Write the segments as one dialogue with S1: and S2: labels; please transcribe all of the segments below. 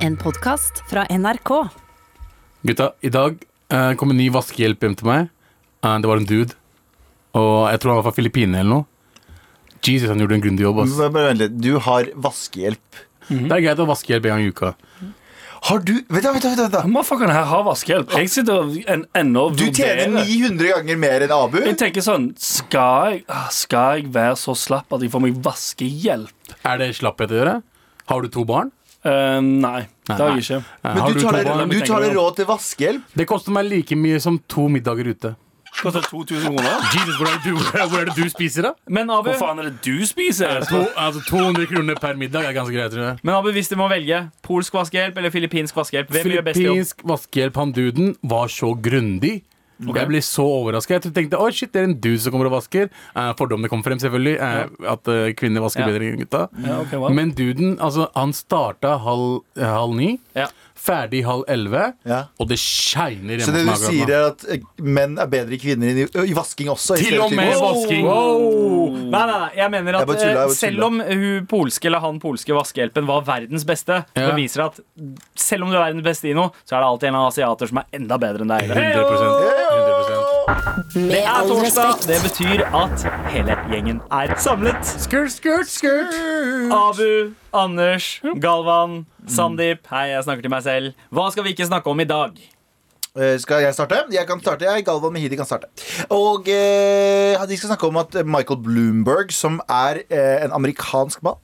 S1: En podkast fra NRK.
S2: Gutta, i dag eh, kom en ny vaskehjelp hjem til meg. Eh, det var en dude. Og jeg tror han var fra Filippinene eller noe. Jesus, han gjorde en grundig jobb. Ass.
S3: Bare- bare vent litt. Du har vaskehjelp.
S2: Det er greit å ha vaskehjelp en gang i uka.
S3: Har du Vent, da, vent, da, vent, da.
S4: Motherfuckeren her har vaskehjelp. Jeg sitter og en, ennå og
S3: Du tjener
S4: vurderer.
S3: 900 ganger mer enn Abu.
S4: Jeg tenker sånn skal jeg, ah, skal jeg være så slapp at jeg får meg vaskehjelp?
S2: Er det slapphet å gjøre? Har du to barn?
S4: Eh, nei, det har jeg ikke.
S2: Eh,
S3: Men
S2: har
S3: du tar
S2: to
S3: deg
S2: barn?
S4: vi
S3: du
S4: tenker
S3: tar deg
S4: på.
S3: råd til vaskehjelp?
S2: Det koster meg like mye som to middager ute.
S4: Koster 2000 kroner.
S2: Jesus, hvor er det du, hvor er det du spiser, da?
S5: Men Abu,
S4: Hva faen er det du spiser?
S2: To, altså 200 kroner per middag er ganske greit, tror jeg.
S5: men Abu, hvis du må velge polsk vaskehjelp eller filippinsk vaskehjelp, hvem gjør best jobb?
S2: Filippinsk vaskehjelp, han duden, var så grundig. Jeg ble så overraska. Jeg tenkte oi shit, det er en dude som kommer og vasker. Eh, fordommene kom frem, selvfølgelig. eh, At eh, kvinner vasker
S5: Ja.
S2: bedre enn gutta.
S4: Ja, ok, wow.
S2: Men duden, altså, han starta halv, eh, halv ni.
S5: Ja.
S2: Ferdig halv elleve.
S3: Ja.
S2: Og det shiner hjemme
S3: Så det du
S2: hos meg akkurat
S3: sier,
S2: nå.
S3: er at eh, menn er bedre kvinner i, i vasking også? i
S2: Til og med
S3: stereotyper.
S2: vasking!
S5: Wow. Nei, nei, nei, jeg mener
S3: Jeg
S5: at
S3: bare tuller, jeg
S5: eh,
S3: bare
S5: selv om hun polske eller han polske vaskehjelpen var verdens beste,
S2: Ja.
S5: det viser at selv om du er verdens beste i noe, så er det alltid en eller annen asiater som er enda bedre enn deg.
S2: 100%.
S5: Det er torsdag. Det betyr at hele gjengen er samlet.
S2: Skurt, skurt, skurt!
S5: Abu, Anders, Galvan, Sandeep. Hei, jeg snakker til meg selv. Hva skal vi ikke snakke om i dag?
S3: Eh, Skal jeg starte? Jeg kan starte, jeg. Galvan Mehidi kan starte. Og eh, de skal snakke om at Michael Bloomberg, som er eh, en amerikansk mann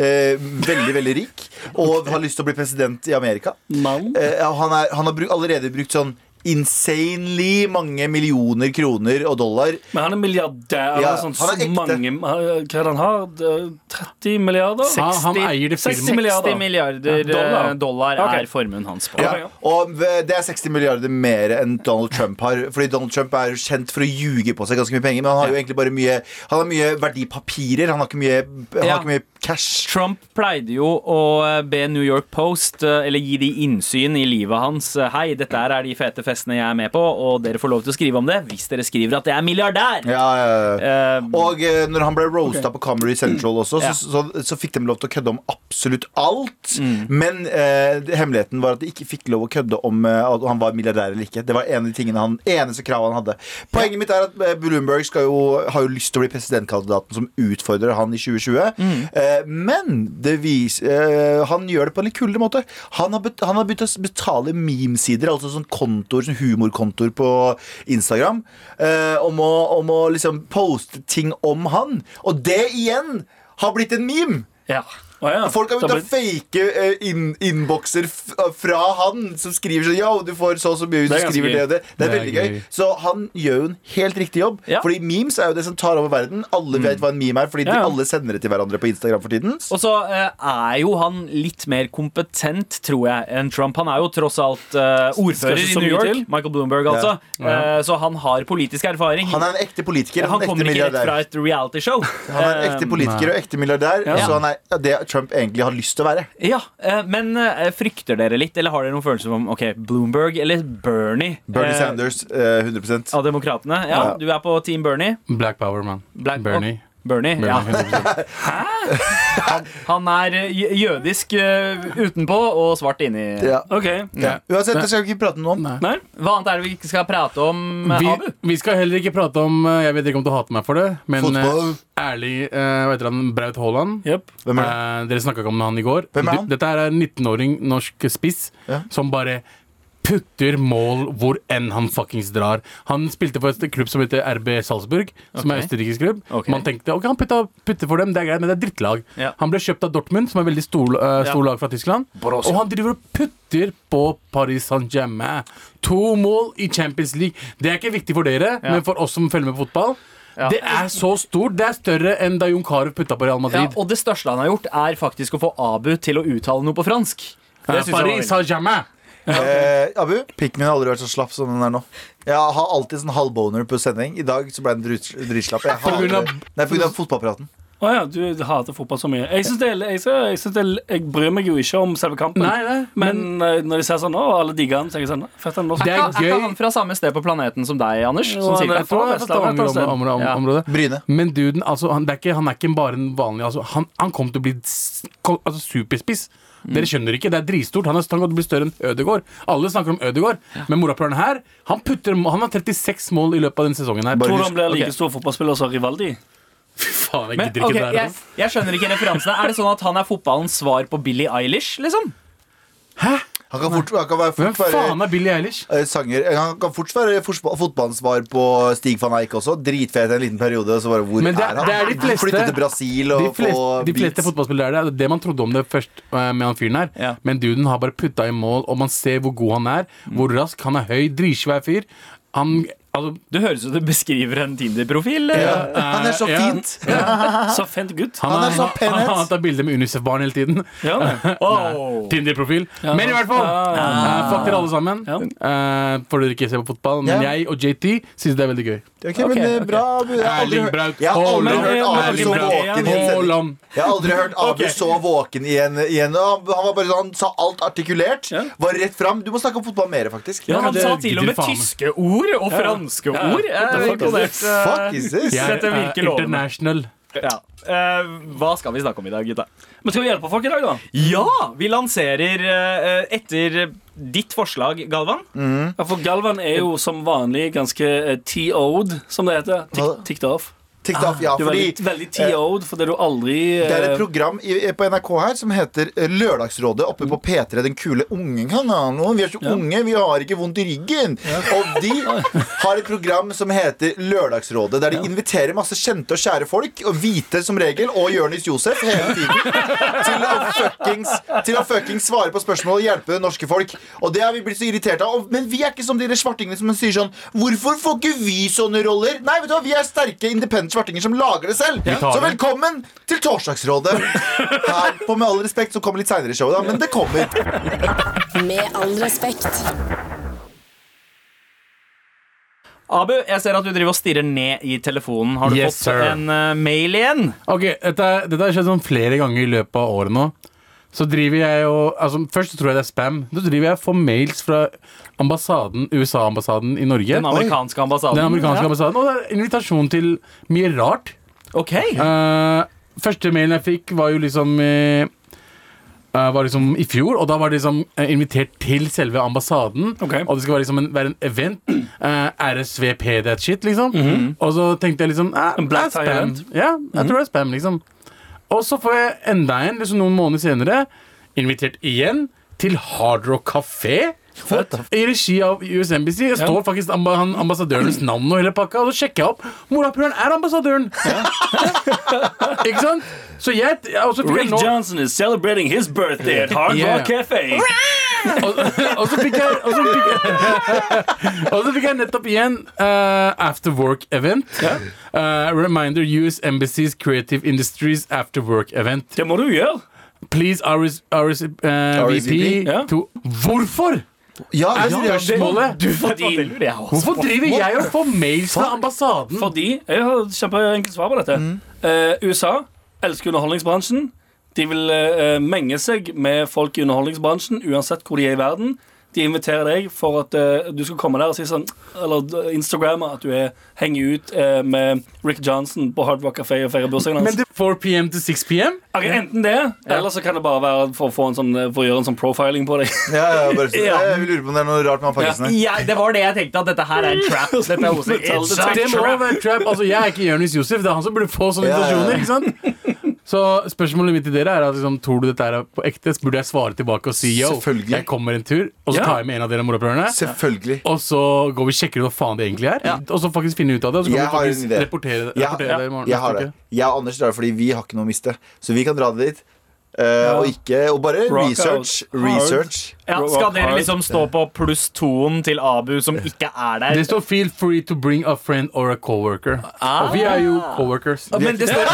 S3: eh, veldig, veldig rik og har lyst til å bli president i Amerika.
S4: Mann?
S3: Eh, ja, han, er, han har bruk, allerede brukt sånn insanely mange millioner kroner og dollar.
S4: Men han er
S5: Eh,
S4: milliardær.
S3: Ja,
S4: han, er sånn,
S3: han er
S4: så
S3: ekte.
S4: mange, hva er det han har? 30 milliarder?
S2: Han, han eier det
S4: 60
S2: firmaet.
S4: milliarder.
S5: 60 milliarder
S4: Ja, dollar.
S5: eh, dollar
S4: Ok.
S5: er formuen hans på.
S3: Ja, og v- det er 60 milliarder mer enn Donald Trump har. Fordi Donald Trump er jo kjent for å ljuge på seg ganske mye penger. Men han har jo egentlig bare mye Han har mye verdipapirer. Han har ikke mye, han
S5: Ja.
S3: har ikke mye cash.
S5: Trump pleide jo å eh, be New York Post eh, eller gi de innsyn i livet hans. Eh, Hei, dette her er de fete festene jeg er med på, og dere får lov til å skrive om det hvis dere skriver at jeg er milliardær.
S3: Ja, ja, ja.
S5: Eh,
S3: Og eh, når han ble roasta på Comedy Central også,
S5: Ja.
S3: så, så, så fikk de lov til å kødde om absolutt alt. Men eh, det- hemmeligheten var at de ikke fikk lov å kødde om eh, at han var milliardær eller ikke. Det var en av de tingene han, eneste kravet han hadde. Poenget mitt er at eh, Bloomberg skal jo, har jo lyst til å bli presidentkandidaten som utfordrer han i 2020. Eh, men det vis, eh, han gjør det på en litt kulere måte. Han har, bet, han har begynt å s- betale memesider, altså sånn kontor, sånn humorkontor på Instagram, eh, om, å, om å liksom poste ting om han. Og det igjen har blitt en meme!
S4: Ja. Å, ja.
S3: Folk har
S4: Da
S3: begynt å fake eh, inn- innbokser f- eh, fra han som skriver sånn Ja, du får så og så mye hvis du
S4: Det er ganske
S3: skriver det og det. Det er
S2: Det er
S3: veldig gøy.
S2: gøy.
S3: Så han gjør jo en helt riktig jobb.
S5: Ja. Mm.
S3: Fordi memes er jo det som tar over verden. Alle vet hva en meme er, fordi
S5: Ja, ja.
S3: de alle sender det til hverandre på Instagram for tiden.
S5: Og så eh, er jo han litt mer kompetent, tror jeg, enn Trump. Han er jo tross alt eh,
S4: Skal
S5: ordfører
S4: ikke
S5: i
S4: så
S5: New
S4: mye
S5: York.
S4: til.
S5: Michael Bloomberg, altså. Eh, så han har politisk erfaring.
S3: Han er en ekte politiker.
S5: han
S3: Han, en ekte
S5: kommer ikke rett
S3: milliardær.
S5: fra et Eh, realityshow.
S3: Han er en ekte politiker og ekte milliardær,
S4: Ja.
S3: så han er ja, det Trump egentlig har lyst til å være.
S5: Ja, eh, men eh, frykter dere litt, eller har dere noen følelse om ok, Bloomberg eller Bernie?
S3: Bernie
S5: Eh,
S3: Sanders, eh, 100
S5: Av demokratene? Ja,
S3: Ja.
S5: du er på Team Bernie.
S2: Black Power, man.
S5: Black-
S2: Bernie.
S5: Bernie,
S2: Bernie
S5: ja.
S2: 100%.
S5: Han er eh, jø- jødisk eh, utenpå og svart inni.
S3: Ja.
S4: Ok.
S3: Ja. Uansett, det skal vi ikke prate noe om.
S4: Nei?
S5: Hva annet er det vi ikke skal prate om, eh, Abu?
S2: Vi, vi skal heller ikke prate om eh, Jeg vet ikke om du hater meg for det, men
S3: Fotball.
S2: eh, ærlig eh, Hva heter han? Braut Haaland.
S4: Jep.
S3: Hvem er det?
S2: Eh, dere snakka ikke om han i går.
S3: Hvem er han?
S2: Du- Dette her er en 19-åring norsk spiss
S3: Ja.
S2: som bare putter mål hvor enn han fuckings drar. Han spilte for et klubb som heter RB Salzburg, som er
S5: Ok.
S2: østerriksk klubb.
S5: Ok.
S2: Man tenkte ok, han putta, putter for dem, det er greit, men det er drittlag.
S5: Ja.
S2: Han ble kjøpt av Dortmund, som er veldig stor, eh, stor lag fra Tyskland. Og han driver og putter på Paris Saint-Germain. To mål i Champions League. Det er ikke viktig for dere, men for oss som følger med på fotball. Det er så stort. Det er større enn da Jon Carew putta på Real
S5: Ja,
S2: Madrid.
S5: og det største han har gjort, er faktisk å få Abu til å uttale noe på fransk. Det synes jeg var
S2: Paris
S5: veldig-
S2: Saint-Germain.
S3: Eh, Abu, pikken min har aldri vært så slapp som den er nå. Jeg har alltid sånn halvboner på sending. I dag så ble den drit- dritslapp. Jeg har
S2: grunn av-
S3: aldri- Nei, På grunn av fotballpraten.
S4: Å ja, du hater fotball så mye. Jeg, synes det, er- jeg, synes- jeg, synes det, er- jeg bryr meg jo ikke om selve kampen.
S2: Nei, nei,
S4: men, eh, når de ser sånn, å, alle digger han, så tenker jeg sånn «Nei, Fett, han nå
S2: Det er
S5: Er
S2: gøy.
S5: ikke han fra samme sted på planeten som deg, Anders?
S2: Jo,
S5: Sånn
S2: han
S5: cirka.
S2: er fra Stavanger om- om- om-
S5: altså. Ja.
S2: området.
S3: Bryne.
S2: Men duden, altså, han, det er ikke, han er ikke bare en vanlig altså, han, han kom til å bli s- ko- altså, superspiss.
S5: Mm.
S2: Dere skjønner ikke, Det er dritstort. Han er han kommer til å bli større enn Ødegaard. Alle snakker om Ødegaard, men morapuleren her Han putter, han har 36 mål i løpet av denne sesongen. her
S3: Bare-
S4: tror du han blir like
S5: Ok.
S4: stor fotballspiller som Rivaldi?
S2: Faen, jeg
S5: Men,
S2: gidder ikke
S5: ok,
S2: det altså. der.
S5: jeg, jeg skjønner ikke referansene. Er det sånn at han er fotballens svar på Billie Eilish, liksom?
S3: Han kan fort, han kan være,
S2: Hvem
S3: fort
S2: faen
S3: være
S2: er Billie Eilish?
S3: eh, sanger Han kan fort være forspa- fotballansvar på Stig van Eijk også. Dritfet en liten periode. og Så bare, hvor
S2: Men det-
S3: er han?
S2: det er de fleste-
S3: Flytte til Brasil og
S2: De fleste,
S3: få
S2: de fleste
S3: beats.
S2: fotballspillere er det. Det er Det man trodde om det først eh, med han fyren her.
S5: Ja.
S2: Men duden har bare putta i mål, og man ser hvor god han er. Hvor rask. Han er høy, dritsvær fyr. Han Altså,
S5: Det høres ut som du beskriver en Tinder-profil.
S3: Ja.
S5: eller?
S3: Han er så
S2: ja.
S3: fint!
S4: Så fint gutt.
S2: han,
S3: Han er
S2: er,
S3: så pen
S2: han,
S3: het.
S2: han tar bilder med Unicef-barn hele tiden.
S4: Ja,
S5: Oh.
S2: Tinder-profil. Men i hvert fall, eh, fuck dere alle sammen.
S4: Ja.
S2: Eh, får dere ikke se på fotball, men
S3: Ja.
S2: jeg og JT syns det er veldig gøy.
S3: Ok, men det er bra Jeg har aldri
S2: Erling
S3: hørt-
S2: Braut
S3: jeg har aldri
S2: Haaland.
S3: hørt Abu
S2: Erling
S3: så
S2: Braut
S3: våken i en sending.
S2: Haaland.
S3: Jeg har aldri hørt Abu så våken i en, i en Han var bare sånn, sa alt artikulert. Var rett fram. Du må snakke om fotball mer, faktisk.
S5: Ja, han
S2: det
S5: sa til og
S2: gidder
S5: med
S2: faen meg.
S5: tyske ord og franske
S4: Ja.
S5: ord. Jeg er imponert.
S3: Fuck is this?
S2: Jeg er
S5: Dette
S2: eh,
S5: virker lovende.
S2: international.
S5: Ja. Eh, hva skal vi snakke om i dag, gutta?
S4: Men skal vi hjelpe folk i dag, da?
S5: Ja! Vi lanserer eh, etter ditt forslag, Galvan.
S4: Ja, For Galvan er jo som vanlig ganske eh, TO'd, som det heter.
S3: Hva?
S4: Tick- Ticked off.
S3: Tikt off, ja,
S4: Du er
S3: fordi
S4: veldig, veldig TO'd fordi du aldri eh,
S3: det er et program i, eh, på NRK her som heter eh, Lørdagsrådet oppe på P3. Den kule unge kanalen. Vi er så unge, vi har ikke vondt i ryggen. Og de har et program som heter Lørdagsrådet, der de inviterer masse kjente og kjære folk, og hvite som regel, og Jonis Josef hele tiden, til å fuckings, til å fuckings svare på spørsmål og hjelpe det norske folk. Og det har vi blitt så irritert av. Og, men vi er ikke som de der svartingene som sier sånn Hvorfor får ikke vi sånne roller? Nei, vet du hva, vi er sterke, independent svartinger som lager det selv.
S2: tar
S3: Så
S2: det.
S3: velkommen til Torsdagsrådet. Her på Med all respekt, som kommer litt seinere i showet, da, men det kommer.
S6: Med all respekt.
S5: Abu, jeg ser at du driver og stirrer ned i telefonen. Har du
S2: Yes,
S5: fått
S2: sir.
S5: en eh, mail igjen?
S2: Ok, dette, dette har skjedd sånn flere ganger i løpet av året nå. Så driver jeg og altså, Først så tror jeg det er spam. Så driver jeg og får mails fra ambassaden USA-ambassaden i Norge.
S5: Den amerikanske ambassaden.
S2: Den amerikanske ambassaden Og det er invitasjon til mye rart.
S5: Ja. Ok.
S2: Eh, første mailen jeg fikk, var jo liksom eh, eh, var liksom i fjor, og da var det liksom eh, invitert til selve ambassaden.
S4: Ok.
S2: Og det skal være liksom en, være en event. eh, RSVP that shit, liksom. Og så tenkte jeg liksom eh,
S4: Mhm. En black
S2: det er
S4: tie
S2: spam.
S4: event.
S2: Ja, jeg tror det er spam, liksom. Og så får jeg enda en liksom noen måneder senere, invitert igjen til Hard Rock Café. I regi av US Embassy. Det står faktisk amba han- ambassadørens navn og hele pakka. Og så sjekker jeg opp. Morapuleren er ambassadøren! Ikke sant? Så jeg, og så fikk jeg
S4: Rick
S2: nå
S4: Johnson is celebrating his birthday at Hard
S2: Yeah.
S4: Rock Cafe.
S2: og, og så fikk jeg Og så fikk jeg, og så fikk jeg nettopp igjen eh, After Work Event. Eh, reminder US Embassy's Creative Industries After Work Event.
S4: Det må du gjøre.
S2: Please RS, RS, eh,
S3: RSVP,
S2: VP
S4: ja.
S2: to Hvorfor?
S3: Ja,
S2: Er
S3: ja,
S2: spørsmålet
S5: Det lurer jeg også
S2: Hvorfor
S5: på.
S2: driver jeg og får mails fra ambassaden?
S4: Fordi Jeg har et kjempeenkelt svar på dette.
S2: Mm.
S4: Eh, USA elsker underholdningsbransjen. De vil eh, menge seg med folk i underholdningsbransjen uansett hvor de er i verden. De inviterer deg for at eh, du skal komme der og si sånn Eller Instagramme at du er, henger ut eh, med Rick Johnson på Hard Rock Café og feirer bursdagen
S2: Men
S4: hans.
S2: det er 4 pm til 6 pm?
S4: Ok, enten det, eller så kan det bare være for å, få en sånn, eh, for å gjøre en sånn profiling på deg.
S3: ja, ja, bare, jeg lurer på om det er noe rart med han pakkisen her.
S5: Ja, det var det jeg tenkte, at dette her er en trap. Dette er også,
S4: It's a
S2: Det må
S4: trap.
S2: være trap. Altså, jeg er ikke Jonis Josef. Det er han som burde få sånne
S3: Ja, ja, ja.
S2: invitasjoner. ikke sant? Så spørsmålet mitt til dere er at liksom, tror du dette er på ekte? Så burde jeg svare tilbake og si yo,
S3: Selvfølgelig.
S2: jeg kommer en tur, og så
S4: Ja.
S2: tar jeg med en av dere morapulerne.
S3: Selvfølgelig.
S2: Og så går vi og sjekker ut hva faen det egentlig er, og så faktisk finne ut av det. Og så kan
S3: Jeg
S2: vi
S3: har en
S2: faktisk
S3: idé.
S2: rapportere,
S3: Jeg-
S2: rapportere det i morgen.
S3: Jeg har
S2: neste
S3: det.
S2: uke.
S3: Jeg og Anders drar fordi vi har ikke noe å miste. Så vi kan dra det dit. Eh, og ikke Og bare
S4: Rock out
S3: research.
S4: hard.
S3: Research.
S5: ja, skal dere liksom stå på pluss-toen til Abu, som ikke er der?
S2: Det står 'feel free to bring a friend or a coworker'. Og vi er jo coworkers.
S5: Men det står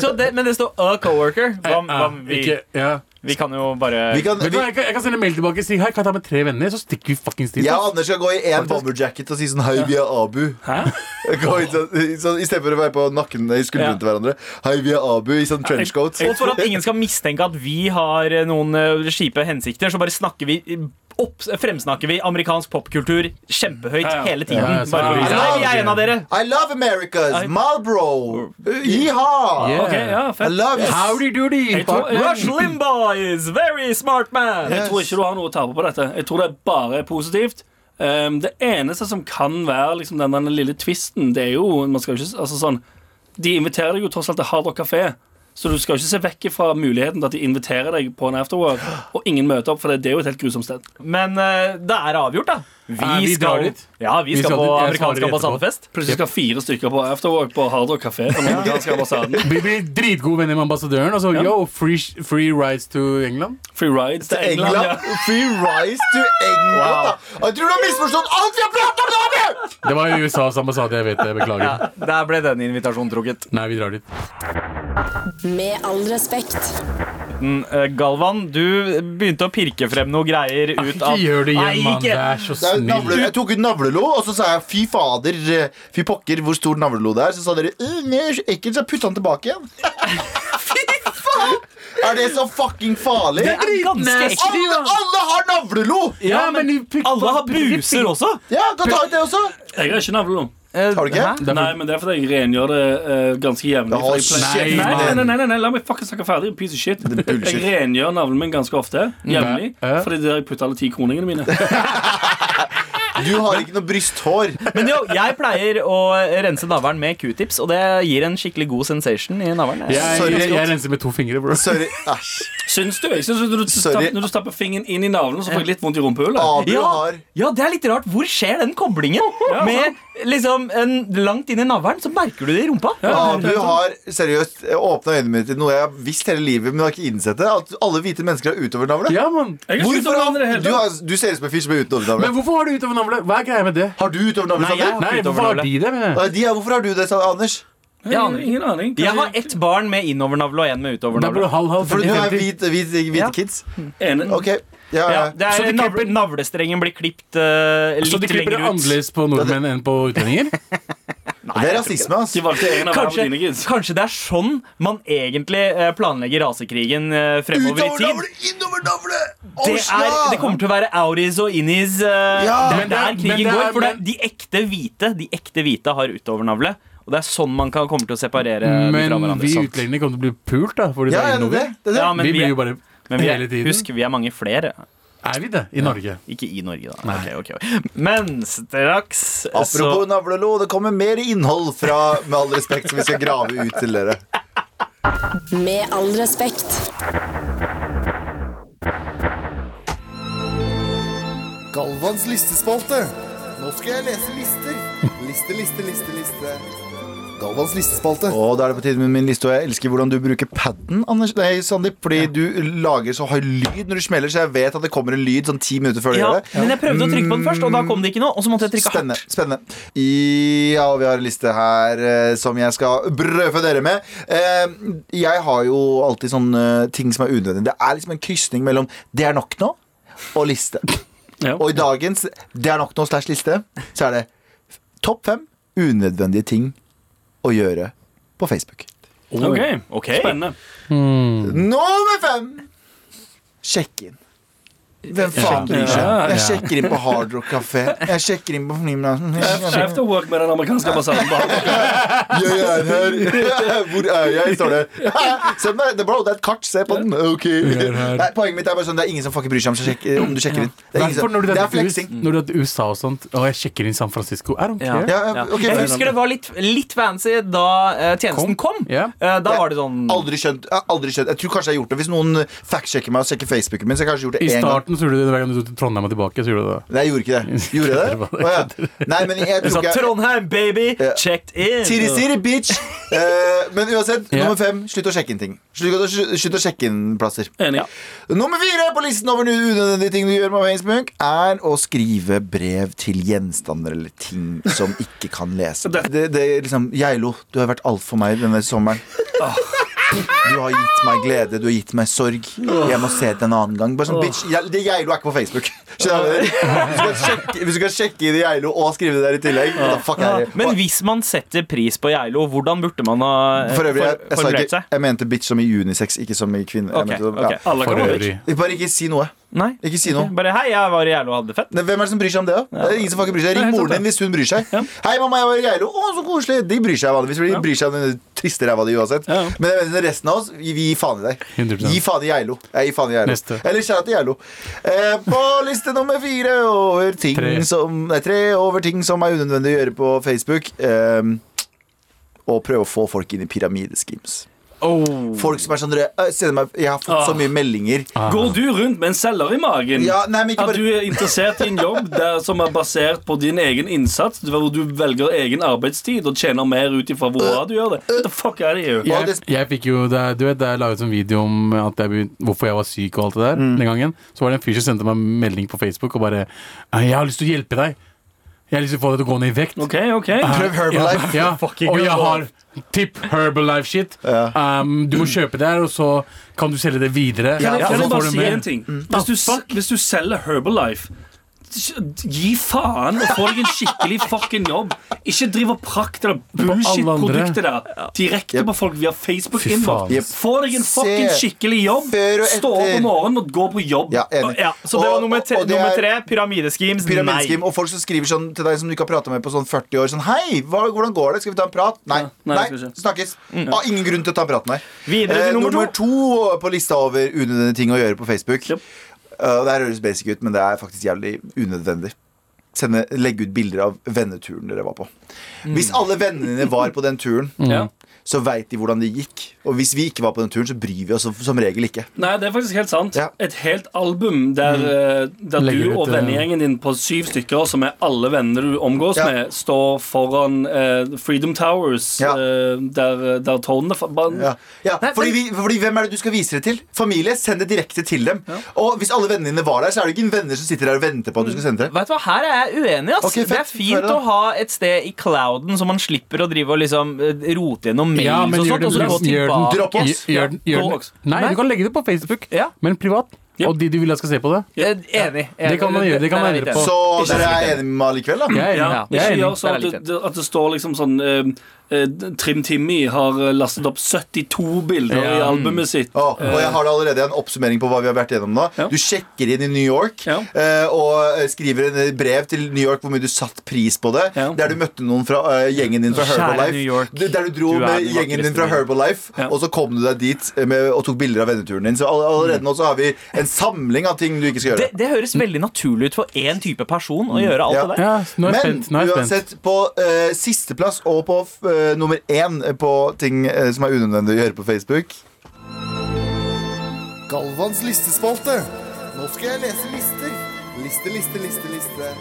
S5: Så det, Men det står a coworker. Hva, hva,
S2: Ja,
S5: vi,
S2: ikke, ja.
S5: Vi kan jo bare
S3: Vi kan,
S2: Vet du hva, jeg, kan, jeg kan sende mail tilbake og si hei, kan jeg ta med tre venner, så stikker vi fuckings dit.
S3: jeg og
S2: ass.
S3: Anders skal gå i én bomberjacket og si sånn Hei, vi er Abu.
S4: Hæ?
S3: Gå i sånn, i sånn, Istedenfor å være på nakken i skuldrene
S4: Ja.
S3: til hverandre. Hei, vi er Abu i sånn trenchcoat.
S5: Og for at ingen skal mistenke at vi har eh, noen eh, kjipe hensikter, så bare snakker vi opp, fremsnakker vi amerikansk popkultur kjempehøyt
S4: Ja, ja.
S5: hele tiden.
S2: Ja, ja, så-
S5: bare,
S2: Ja,
S3: ja.
S5: Nei, vi er en av dere.
S3: I love Americas!
S5: I-
S3: Marlboro! Yeehaw!
S2: Yeah.
S4: Ok, ja,
S3: I
S4: fett.
S3: love you!
S2: Howdy doody!
S4: Jeg tror-
S2: fuck.
S5: Rush Limbaugh is very smart man.
S4: Jeg tror ikke du har noe å tape på dette. Jeg tror det bare er positivt. Ehm, det eneste som kan være liksom, den, den lille tvisten, det er jo man skal jo ikke, altså, sånn, De inviterer deg jo tross alt til Hard Rock Café, så du skal jo ikke se vekk fra muligheten til at de inviterer deg på en afterwork, og ingen møter opp, for det, det er jo et helt grusomt sted.
S5: Men eh, det er avgjort, da.
S2: Ja, vi drar dit.
S5: Ja, vi,
S2: Vi
S5: skal,
S2: skal dit. Jeg
S5: på
S2: svarer
S5: amerikansk
S2: etterpå.
S5: ambassadefest.
S4: Plutselig skal fire stykker på afterwork på Hard Rock Café. på den amerikanske ambassaden.
S2: Vi blir dritgode venner med ambassadøren. Og så yo, free, free rides to England.
S4: Free rides til England.
S3: England.
S4: Ja.
S3: Free rise to England. da. Jeg tror du har misforstått alt vi har pratet om! Abu!
S2: Det var i USAs ambassade, jeg vet det. Beklager.
S5: Der ble den invitasjonen trukket.
S2: Nei, vi drar dit.
S6: Med all respekt.
S5: Eh, Galvan, du begynte å pirke frem noe greier ut
S2: Ikke
S5: av
S2: gjør det
S5: Nei,
S2: igjen, mann.
S5: ikke.
S2: Vær så
S3: Det er jo navle,
S2: snill.
S3: jeg tok ut navlelo, og så sa jeg fy fader, eh, fy pokker, hvor stor navlelo det er. Så sa dere «Øh, nei, så ekkelt, så jeg putta den tilbake igjen. fy faen! Er det så fucking farlig?
S5: Det er ganske
S2: Nasty.
S5: ekkelt.
S3: Alle, alle har navlelo!
S2: Ja, men vi putter-
S5: Alle har buser også. Eh,
S3: Ja, kan ta ut det også.
S4: Jeg har ikke navle nå.
S5: Har
S3: du ikke?
S2: Det er
S4: Nei,
S2: for-
S4: men det er fordi jeg rengjør det eh, ganske
S3: Å,
S4: jevnlig. for jeg pleier-
S2: shit,
S4: nei, nei, nei,
S3: mann.
S4: nei, nei, nei, la meg fucking snakke ferdig. Piece of shit.
S3: Det er bullshit.
S4: Jeg rengjør navlen min ganske ofte. Jevnlig.
S3: eh.
S2: Ja.
S4: Fordi det er der jeg putter alle ti kroningene mine.
S3: Du har ikke noe brysthår.
S5: Men jo, jeg pleier å rense navlen med q-tips, og det gir en skikkelig god sensation i navlen.
S2: Jeg,
S3: Sorry,
S2: jeg, jeg
S3: Scott.
S2: renser med to fingre, bro.
S3: Sorry. Æsj.
S4: Syns du? Jeg synes at når, du
S3: Sorry. Ah.
S4: stapp, når du stapper fingeren inn i navlen, så får jeg litt vondt i rumpehullet.
S3: Abu
S5: Ja,
S3: har
S5: ja, det er litt rart. Hvor skjer den koblingen?
S2: altså.
S5: Med liksom en, Langt inn i navlen så merker du det i rumpa.
S3: Abu har seriøst åpna øynene mine til noe jeg har visst hele livet, men har ikke innsett det. At alle hvite mennesker har utovernavle.
S2: Ja, mann.
S4: Jeg har sluttet
S3: Hvorfor
S4: å
S3: har,
S4: nevne det hele
S3: du,
S4: tatt.
S3: har, du ser ut som en fyr som er uten
S2: Men
S3: overnavle.
S2: hvorfor har du utover navlet? Hva er greia med det?
S3: Har du utovernavle,
S5: Nei, jeg-
S3: Sander?
S2: Nei, hvorfor har de det? mener jeg?
S3: Nei, de er- Hvorfor har du det, sa Anders?
S5: Jeg
S4: Ingen,
S5: aner ikke.
S4: ingen aning.
S5: Jeg har ett barn med innovernavle og én med
S2: Det er bare
S5: utovernavle.
S2: halv, halv,
S3: Fordi du
S2: 50-50.
S3: er hvit, hvit, hvite
S5: Ja.
S3: kids?
S4: Ene-
S3: Ok. Ja, ja.
S5: Ja, det
S2: Så de
S5: er navle,
S2: klipper-
S5: navlestrengen blir klipt eh,
S2: Så de klipper
S5: litt
S2: det
S5: lenger ut.
S2: annerledes på nordmenn enn på utlendinger?
S3: det er rasisme, ass.
S4: De valgte en av hver
S5: Kanskje,
S4: på dine kids.
S5: kanskje det er sånn man egentlig eh, planlegger rasekrigen eh, fremover i tid.
S3: Utovernavle, innovernavle!
S5: Det, er,
S3: Osla!
S5: det kommer til å være Auris og Innis. eh,
S3: Ja.
S5: det
S2: Men
S5: er
S2: det er-
S5: der krigen
S2: men det er-
S5: går. For det,
S2: men-
S5: de ekte hvite De ekte hvite har utovernavle. Og det er sånn man kan komme til å separere de fra
S2: Men
S5: hverandre.
S2: vi
S5: sant?
S2: utlendinger kommer til å bli pult, da. Fordi
S3: Ja,
S2: det
S3: ja,
S2: er
S3: det er det.
S2: innover.
S3: det, er det.
S5: Ja, men
S2: Vi
S5: vi
S2: blir
S5: er-
S2: jo bare
S5: Men vi
S2: hele
S5: er,
S2: tiden.
S5: husk, vi er mange flere.
S2: Er vi det? I Norge.
S5: Ikke i Norge, da. Ok, ok, ok. Men straks så
S3: Apropos navlelo, det kommer mer innhold fra Med all respekt, som vi skal grave ut til dere.
S6: Med all respekt.
S3: Galvans listespalte. Nå skal jeg lese lister. Liste, liste, liste, liste. Galvans listespalte. Og da er det på tide med min liste, og jeg elsker hvordan du bruker padden, Anders. Nei, Sandeep, fordi du lager så høy lyd når du smeller, så jeg vet at det kommer en lyd sånn ti minutter før du
S5: ja,
S3: gjør det.
S5: Men jeg prøvde å trykke på den først, og da kom det ikke noe. Og så måtte jeg trykke hardt.
S3: Spennende. spennende I, Ja, vi har en liste her eh, som jeg skal brødfø dere med. Eh, jeg har jo alltid sånne ting som er unødvendig. Det er liksom en krysning mellom 'det er nok nå' og 'liste'.
S4: Ja.
S3: Og i dagens 'det er nok nå' slash liste, så er det topp fem unødvendige ting å gjøre på Facebook.
S4: Ok,
S5: Oh. Ok.
S4: Spennende.
S3: Nummer fem! Sjekk inn. Hvem faen bryr seg?
S4: Ja, ja.
S3: Jeg sjekker inn på Hard Rock Café. Jeg sjekker inn på Fnimlasen.
S4: Afterwork med den amerikanske ambassaden. Bare-
S3: Jeg er her. Hvor er jeg, står det. Se på det, bro, det er et kart. Se på den. Ok.
S2: er her.
S3: Nei, poenget mitt er bare sånn, det er ingen som fucking bryr seg om, seg sjekk- om du sjekker inn. Det er, ingen
S2: Derfor
S3: som,
S2: når du
S3: det er
S2: drar til US-
S3: flexing.
S2: når du drar til USA og sånt, og jeg sjekker inn San Francisco I don't
S5: Ja.
S2: care.
S3: Ja,
S5: Ja.
S3: ok,
S5: Jeg
S3: fair.
S5: husker det var litt, litt fancy da eh, tjenesten kom.
S2: Ja.
S5: Eh, da var det sånn
S3: Aldri skjønt. Jeg, har aldri skjønt. jeg tror kanskje jeg har gjort det Hvis noen fact-sjekker meg og sjekker Facebooken min, så har jeg kanskje gjort det
S2: I
S3: én gang.
S2: starten så gjorde du det hver gang du dro til Trondheim og tilbake. så gjorde du det
S3: Nei, jeg gjorde ikke det. Gjorde jeg det? Å, ja. Nei, men jeg tror
S5: Du sa
S3: ikke jeg-
S5: Trondheim, baby!
S3: Ja.
S5: Checked in!
S3: Siri, Siri, bitch! Eh, men uansett,
S2: Ja.
S3: nummer fem, slutt å sjekke inn ting. Slutt, å- slutt å sjekke inn plasser.
S4: Enig.
S3: Nummer fire på listen over unødvendige ting du gjør med Facebook, er å skrive brev til gjenstander eller ting som ikke kan lese. Det, det er liksom Geilo, du har vært alt for meg denne sommeren. Du har gitt meg glede, du har gitt meg sorg. Jeg må se det en annen gang. Bare sånn, bitch, jeg, det Geilo er ikke på Facebook. Skjønner du? Hvis du skal sjekke, hvis du skal sjekke inn i Geilo og skrive det der i tillegg, what the fuck er det?
S5: Men hvis man setter pris på Geilo, hvordan burde man ha eh,
S3: For øvrig, jeg,
S5: for-
S3: jeg, sa
S5: formulert
S3: ikke,
S5: seg?
S3: jeg mente bitch som i unisex, ikke som i kvinne. Jeg
S5: Ok,
S3: mente som-
S5: ok.
S3: ja.
S4: Alle
S2: For
S4: kan være bitch.
S2: øvrig.
S3: Bare ikke si noe.
S5: Nei.
S3: Ikke si noe.
S5: Bare hei, jeg var i Geilo og hadde det fett.
S3: Nei, Hvem er det som bryr seg om det? da? Det er ingen som fucking bryr seg Ring
S4: Nei,
S3: moren
S4: sant
S3: din hvis hun bryr seg. Hei, mamma, jeg var i Geilo. Å, så koselig. De bryr seg vanligvis. for De bryr seg om den triste ræva di uansett.
S4: Ja, ja.
S3: Men jeg mener, resten av oss, vi vi gir faen i deg.
S2: 100%.
S3: Gi faen i Geilo. Jeg gir faen i Geilo.
S2: Neste.
S3: Eller kjære til Geilo. Eh, på liste nummer fire over ting
S2: Tre.
S3: som Nei, tre over ting som er unødvendig å gjøre på Facebook. Eh, og prøve å få folk inn i pyramideschemes. Folk som er sånn dere, eh, sender meg, Jeg har fått så
S4: Oh. Ah.
S3: mye meldinger.
S4: Går du rundt med en selger i magen?
S3: Ja, nei, men ikke
S4: At
S3: bare
S4: du er interessert i en jobb der, som er basert på din egen innsats, hvor du velger egen arbeidstid og tjener mer ut ifra hvor bra du gjør det? What the fuck er det jo?
S3: Ja.
S2: Jeg, jeg fikk jo det, Du vet, jeg la ut en video om at jeg, begyn- hvorfor jeg var syk og alt det der den gangen. Så var det en fyr som sendte meg en melding på Facebook og bare 'Jeg har lyst til å hjelpe deg. Jeg har lyst til å få deg til å gå ned i vekt.'
S4: OK, OK.
S3: Prøv Herbalife.
S2: Ja, og jeg har tipp Herbalife-shit. Um, du må kjøpe det her, og så kan du selge det videre.
S3: Ja,
S4: Kan jeg,
S2: og
S4: kan
S2: så
S4: jeg
S2: får
S4: bare
S2: du
S4: si
S2: mer. Mm.
S4: en ting? Hvis du, s- hvis du selger Herbalife Gi faen og få deg en skikkelig fucking jobb. Ikke driv og prakt det bullshit-produktet der direkte på folk via Facebook.
S2: Fy faen.
S3: Jep.
S4: Inbox. Få deg en fucking
S3: Se.
S4: skikkelig jobb.
S3: Før og
S4: Stå opp
S3: etter.
S4: om morgenen og gå på jobb.
S3: Ja, enig.
S5: Ja, så det
S3: Og-
S5: var nummer tre.
S3: og det
S5: nummer
S3: er-
S5: tre pyramideschemes.
S3: Pyramideskim og folk som skriver sånn til deg som du ikke har prata med på sånn 40 år. Sånn, Hei, hva, hvordan går det? Skal vi ta en prat? Nei.
S4: Nei,
S3: Nei,
S4: det skal vi ikke.
S3: snakkes. Ah, ingen grunn til å ta en prat, nei.
S5: Videre til
S3: Eh,
S5: nummer to.
S3: nummer to på lista over unødvendige ting å gjøre på Facebook.
S4: Yep.
S3: Eh, og det her høres basic ut, men det er faktisk jævlig unødvendig. Sende, legge ut bilder av venneturen dere var på. Hvis alle vennene dine var på den turen,
S2: Mm.
S4: Ja.
S3: så veit de hvordan det gikk. Og hvis vi ikke var på den turen, så bryr vi oss som, som regel ikke.
S4: Nei, det er faktisk helt sant.
S3: Ja. Mm.
S4: Et helt album der, eh, der
S2: Legger
S4: du
S2: ut,
S4: og
S2: eh,
S4: vennegjengen din på syv stykker, som er alle venner du omgås
S3: Ja.
S4: med, står foran eh, Freedom Towers,
S3: Ja.
S4: eh, der, der tårnene fa- bare-
S3: Ja, ja fordi, vi, fordi hvem er det du skal vise det til? Familie, send det direkte til dem. Og hvis alle vennene dine var der, så er det ikke en venner som sitter der og venter på at du skal sende det.
S5: Vet du hva, Her er jeg uenig. ass
S3: Ok, fett.
S5: Det er
S3: Få høre,
S5: fint
S3: da.
S5: å ha et sted i clouden, så man slipper å drive og liksom eh, rote gjennom mails
S2: Ja, men
S5: og
S4: sånn,
S2: gjør
S5: sånt.
S2: den,
S5: Og så
S2: gjør
S5: gå
S2: den,
S5: tilbake.
S3: Dropp oss.
S2: Gjør- gjør den, gjør den.
S5: Dropbox.
S2: Nei,
S5: Nei.
S2: du kan legge det på Facebook,
S5: Ja.
S2: men privat.
S4: Ja.
S2: Og de du vil jeg skal se på det.
S5: Eh, Enig.
S2: Det kan man gjøre, det kan man
S5: Der er
S2: endre
S5: jeg
S2: på.
S5: litt enig.
S3: Så
S5: Ikke
S3: dere
S5: sant.
S3: er enige med meg likevel, da?
S2: Jeg er
S4: Ja,
S2: enig.
S5: Ja,
S2: Jeg er
S4: ikke gjør
S2: enig.
S5: Det
S4: sånn
S5: er
S4: at
S5: litt
S4: det, det- at det står liksom sånn eh, eh, Trim Timmy har eh, lastet opp 72 bilder i albumet sitt.
S3: Å, og jeg har da allerede en oppsummering på hva vi har vært gjennom nå.
S4: Ja.
S3: Du sjekker inn i New York
S4: Ja.
S3: eh, og eh, skriver en eh, brev til New York hvor mye du satt pris på det.
S4: Ja.
S3: Der du møtte noen fra eh, gjengen din fra
S5: Kjære New
S3: Herbalife.
S5: York.
S3: Du- Der du dro
S5: Du er
S3: med
S5: den
S3: gjengen din
S5: vakreste
S3: fra
S5: byen.
S3: Herbalife,
S4: Ja.
S3: og så kom du deg dit eh, med, og tok bilder av venneturen din. Så all- allerede nå så har vi en samling av ting du ikke skal gjøre.
S5: Mm. Det, det høres veldig naturlig ut for én type person å gjøre
S3: Mm.
S5: alt
S3: Ja.
S5: det der.
S2: Ja, nå er jeg
S3: Men
S2: spent. Nå er jeg spent.
S3: uansett, på uh, sisteplass og på eh, nummer én på ting eh, som er unødvendig å gjøre på Facebook Galvans listespalte. Nå skal jeg lese lister. Liste, liste, liste, liste.